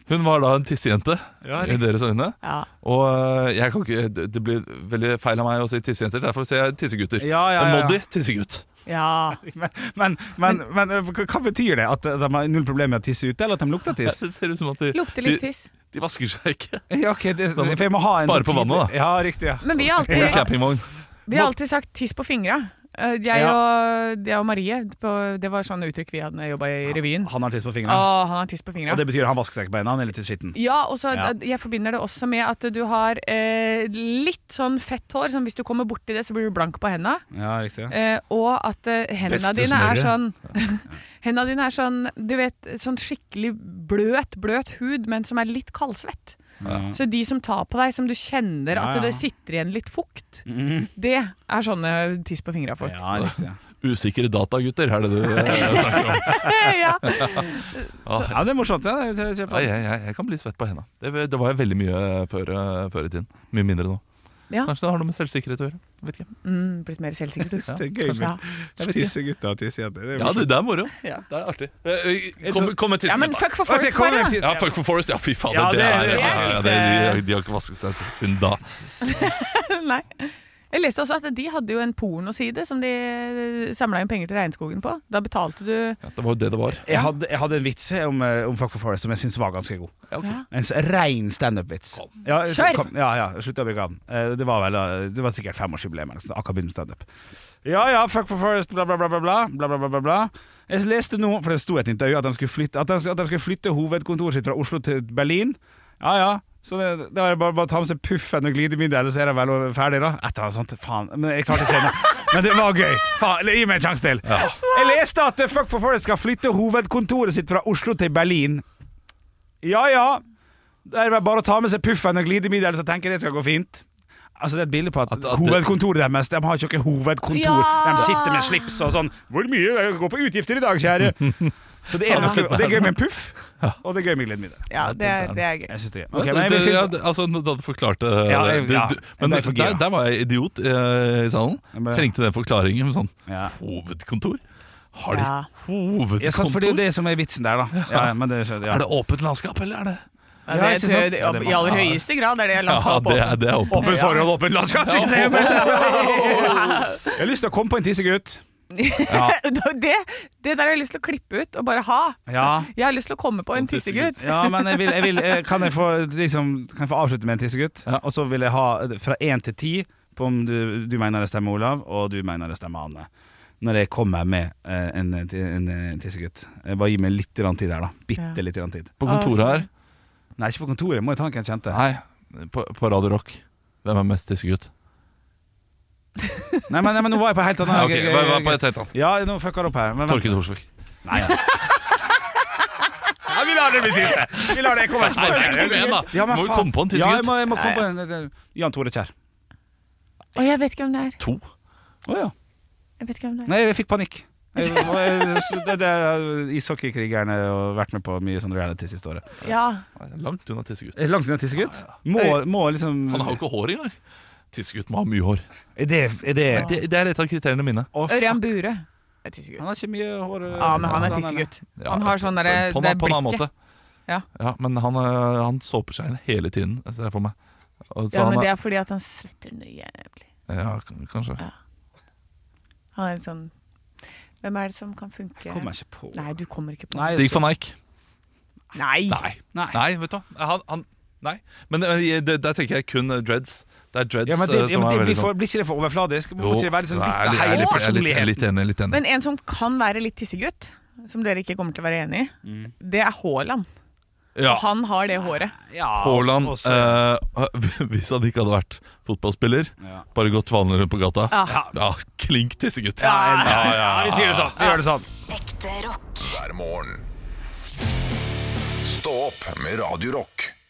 Speaker 3: hun var da en tissejente
Speaker 2: Ja,
Speaker 3: i deres øyne.
Speaker 4: Ja.
Speaker 3: Og eh, jeg kan ikke, det- det blir veldig feil av meg å si tissejenter, derfor sier jeg tissegutter.
Speaker 2: Ja, ja, ja.
Speaker 3: Og Moddi tissegutt.
Speaker 4: Ja.
Speaker 2: Men, men, men, men eh, hva hva betyr det? At de har null problem med å tisse ute, eller at de lukter
Speaker 3: <laughs> Det
Speaker 2: tiss?
Speaker 3: ser ut som at de,
Speaker 4: Lukter litt
Speaker 3: de,
Speaker 4: tiss.
Speaker 3: de vasker seg ikke.
Speaker 2: Ja, ok, det, for jeg må ha en
Speaker 3: Spare
Speaker 2: sånn tid-
Speaker 3: på vannet, da.
Speaker 2: Ja, riktig, ja.
Speaker 4: Men vi har
Speaker 3: På
Speaker 4: alltid,
Speaker 3: campingvogn.
Speaker 4: vi har alltid sagt 'tiss på fingra'. Eh, Jeg
Speaker 2: Ja.
Speaker 4: og, jeg og Marie, på, det var sånne uttrykk vi hadde når jeg jobba i revyen.
Speaker 2: Han har tiss på fingrene.
Speaker 4: Å, han har tiss på fingra.
Speaker 2: Og det betyr han vasker seg ikke på hendene, han er litt skitten.
Speaker 4: Ja, og så
Speaker 2: Ja.
Speaker 4: jeg forbinder det også med at du har eh, litt sånn fett hår, som hvis du kommer borti det, så blir du blank på henda.
Speaker 2: Ja, riktig.
Speaker 4: Eh, og at eh, hendene
Speaker 3: Beste
Speaker 4: dine er
Speaker 3: smøret.
Speaker 4: sånn <laughs> Hendene dine er sånn, du vet, sånn skikkelig bløt, bløt hud, men som er litt kaldsvett.
Speaker 2: Ja.
Speaker 4: Så de som tar på deg, som du kjenner
Speaker 2: Ja,
Speaker 4: at
Speaker 2: ja.
Speaker 4: det sitter igjen litt fukt,
Speaker 2: mm,
Speaker 4: det er sånne tiss på fingra-folk.
Speaker 2: Ja, riktig. Ja.
Speaker 3: Usikre data, gutter, er det du
Speaker 4: <laughs>
Speaker 3: eh, snakker om.
Speaker 4: ja.
Speaker 3: Ah,
Speaker 2: ja, det er morsomt. Ja. Jeg- jeg- jeg-
Speaker 3: ja, jeg, jeg, jeg kan bli svett på henda. Det, det var jeg veldig mye eh, før, eh, før i tiden. Mye mindre nå.
Speaker 4: Ja.
Speaker 3: Kanskje det har noe med selvsikkerhet å gjøre. Vet ikke.
Speaker 4: Mm, blitt mer selvsikker, du.
Speaker 2: Det er gøy
Speaker 4: Ja.
Speaker 2: med tissegutta og tissejenter. Det er
Speaker 3: Ja, det,
Speaker 2: morsomt.
Speaker 3: det er moro. Det er artig. Eh, eh, Kom, kom med
Speaker 4: ja,
Speaker 3: tissen.
Speaker 4: men fuck for
Speaker 2: Ok,
Speaker 4: Forest
Speaker 2: kom
Speaker 4: Fire,
Speaker 2: med
Speaker 4: da!
Speaker 2: tiss-
Speaker 3: Ja, Fuck for Forest. Ja, fy fader.
Speaker 2: Ja,
Speaker 3: det,
Speaker 2: det-
Speaker 3: er,
Speaker 2: det er
Speaker 3: altså,
Speaker 4: ikke
Speaker 3: det,
Speaker 4: så-
Speaker 3: de, de har ikke vasket seg siden da.
Speaker 4: <laughs> Nei. Jeg leste også at de hadde jo en pornoside som de samla inn penger til Regnskogen på. Da betalte du
Speaker 3: Ja, det var jo det det var.
Speaker 2: Jeg hadde, jeg hadde en vits her om, eh, om Fuck for Forest som jeg syns var ganske god.
Speaker 3: Ja, ok.
Speaker 4: Ja.
Speaker 2: En s- rein standup-vits. Ja, eh,
Speaker 4: Kjør!
Speaker 2: Kom, ja, ja, slutt å bruke den. Eh, Det var vel eh, Det var sikkert femårsjubileum. eller noe sånt, Akkurat begynt med standup. Ja ja, Fuck for Forest, bla, bla, bla, bla, bla. bla, bla, bla, bla, bla. Jeg leste nå, for det sto i et intervju, at de skulle flytte, at de, at de skulle flytte hovedkontoret sitt fra Oslo til Berlin. Ja ja. Så det, det var bare, bare å ta med seg puffen og glidemiddel, ellers er de vel ferdig, da. Et eller annet sånt. Faen. Men jeg klarte ikke det. Men det var gøy. Faen, gi meg en sjanse til. Jeg leste at eh, Fuck for Forest skal flytte hovedkontoret sitt fra Oslo til Berlin. Ja ja. Det er vel bare å ta med seg puffen og glidemiddel, så tenker jeg det skal gå fint. Altså Det er et bilde på at,
Speaker 3: At- at det-
Speaker 2: hovedkontoret deres De har jo ikke hovedkontor.
Speaker 4: Ja!
Speaker 2: De sitter med slips og sånn 'Hvor mye går på utgifter i dag, <laughs> kjære?' Så det er, noe, og det er gøy med en puff, og det er gøy med glidemiddel.
Speaker 4: Ja, det er, det er gøy.
Speaker 2: Jeg synes det er gøy. Ok,
Speaker 3: Ja,
Speaker 2: men jeg vil
Speaker 3: det- ja,
Speaker 2: finne-
Speaker 3: det- altså, da du forklarte
Speaker 2: Ja, jeg-
Speaker 3: det- du-
Speaker 2: ja.
Speaker 3: Men
Speaker 2: Jeg ble for
Speaker 3: der,
Speaker 2: gira.
Speaker 3: der var jeg idiot eh, i salen.
Speaker 2: Jeg ble-
Speaker 3: Trengte den forklaringen med sånn
Speaker 2: Ja.
Speaker 3: hovedkontor. Har de
Speaker 4: Ja.
Speaker 3: hovedkontor?
Speaker 2: Ja, sant, for det er jo det som er vitsen der, da. Ja, ja, men det skjønner
Speaker 3: Er
Speaker 2: ja.
Speaker 3: det åpent landskap, eller er det
Speaker 4: Ja,
Speaker 2: Ja,
Speaker 4: det,
Speaker 2: ikke
Speaker 4: tror jeg-
Speaker 2: sant? Ja, det
Speaker 4: det,
Speaker 2: må-
Speaker 4: I aller høyeste grad er det landskapet
Speaker 3: det er, det er åpent.
Speaker 2: Åpent forhold, åpent landskap! skal <laughs> jeg si. Jeg har lyst til å komme på en tissegutt.
Speaker 4: åpent. <laughs> det, det der har jeg lyst til å klippe ut og bare ha.
Speaker 2: Ja.
Speaker 4: Jeg har lyst til å komme på en
Speaker 3: tissegutt.
Speaker 4: tissegutt.
Speaker 2: Ja, men jeg vil, jeg vil, eh, kan, jeg få, liksom, kan jeg få avslutte med en tissegutt? Og så vil jeg ha eh, fra én til ti på om du, du mener det stemmer Olav, og du mener det stemmer Anne. Når jeg kommer med eh, en, en, en tissegutt. Eh, Bare gi meg litt grann tid her, da. Bitte
Speaker 4: Ja.
Speaker 2: litt grann tid.
Speaker 3: På kontoret her
Speaker 2: Nei, ikke på kontoret. Må jeg ta en hvem jeg kjente?
Speaker 3: Nei, på, på Radio Rock. Hvem er mest tissegutt?
Speaker 2: Nei, men, nei, men nå var jeg på helt
Speaker 3: Nei,
Speaker 2: annet
Speaker 3: <laughs> ok, hva, hva på et helt annet?
Speaker 2: Ja, nå fucka det opp her. Men, vent.
Speaker 3: Torkild Thorsvik.
Speaker 2: Nei, ja. ja, vi lar det bli siste. Vi lar det komme
Speaker 3: Nei, det er ikke noe igjen, da.
Speaker 2: Ja, men
Speaker 3: Må jo
Speaker 2: faen.
Speaker 3: komme på en
Speaker 2: Ja, jeg
Speaker 3: tissegutt.
Speaker 2: må, jeg må komme på en- en en- Jan Tore Kjær.
Speaker 4: Og jeg vet ikke hvem det er.
Speaker 3: To.
Speaker 2: Å ja.
Speaker 4: Jeg vet ikke hvem det er.
Speaker 2: Nei, jeg fikk panikk. Jeg- jeg- så Det det er ishockeykrigerne og vært med på mye sånn reality siste året.
Speaker 4: Ja,
Speaker 3: Nei, Langt unna tissegutt.
Speaker 2: Er det Langt unna tissegutt? Må, må liksom
Speaker 3: Han har jo ikke hår engang. Tissegutt må ha mye hår.
Speaker 2: Er det, er det
Speaker 3: Det, det er et av kriteriene mine.
Speaker 2: Å, f-
Speaker 4: Ørjan Bure. Det er
Speaker 2: Han
Speaker 4: tissegutt.
Speaker 2: har ikke mye hår. eh,
Speaker 4: Ja, men han er tissegutt.
Speaker 3: Ja,
Speaker 4: Han har sånn derre
Speaker 3: på, en-
Speaker 4: det
Speaker 3: på en annen
Speaker 4: blikket.
Speaker 3: måte.
Speaker 4: Ja.
Speaker 3: men han, eh, han såper seg inn hele tiden, ser jeg for meg. Og så
Speaker 4: Ja,
Speaker 3: han
Speaker 4: men det
Speaker 3: er-
Speaker 4: er fordi at han svetter nøye.
Speaker 3: ja, k- kanskje.
Speaker 4: Ja. Han er litt sånn Hvem er det som kan funke?
Speaker 2: Kommer jeg ikke på.
Speaker 4: Nei, du kommer ikke på
Speaker 2: Nei,
Speaker 3: Stig van Eijk.
Speaker 4: Nei.
Speaker 3: Nei.
Speaker 2: Nei.
Speaker 3: Nei, vet du hva. Han, han, nei. Men eh, det, der tenker jeg kun eh, dreads. Det er dreads
Speaker 2: Ja, men
Speaker 3: eh,
Speaker 2: det, ja,
Speaker 3: som
Speaker 2: men det
Speaker 3: er
Speaker 2: blir,
Speaker 3: veldig
Speaker 2: for,
Speaker 3: sånn
Speaker 2: blir ikke det for overfladisk? Må
Speaker 3: Jo,
Speaker 2: ikke det være liksom
Speaker 3: nei,
Speaker 2: litt
Speaker 3: jeg
Speaker 2: av
Speaker 3: er jeg er
Speaker 2: hele
Speaker 3: litt- jeg er litt- jeg er litt
Speaker 2: personligheten?
Speaker 3: enig. Litt enig.
Speaker 4: Men en som kan være litt tissegutt, som dere ikke kommer til å være enig i, det er Haaland.
Speaker 3: Mm. Ja.
Speaker 4: Og han har det håret.
Speaker 2: Ja,
Speaker 3: Haaland,
Speaker 2: også- også-
Speaker 3: eh, <laughs> hvis han ikke hadde vært fotballspiller,
Speaker 2: Ja.
Speaker 3: bare gått vanlig rundt på gata
Speaker 2: Ja.
Speaker 3: Ja, Klink tissegutt.
Speaker 2: Ja,
Speaker 3: Ja,
Speaker 2: ja,
Speaker 3: ja,
Speaker 2: ja, vi sier det sånn. Vi gjør det sånn.
Speaker 5: Ekte rock.
Speaker 1: hver morgen. Stå opp med Radio Rock.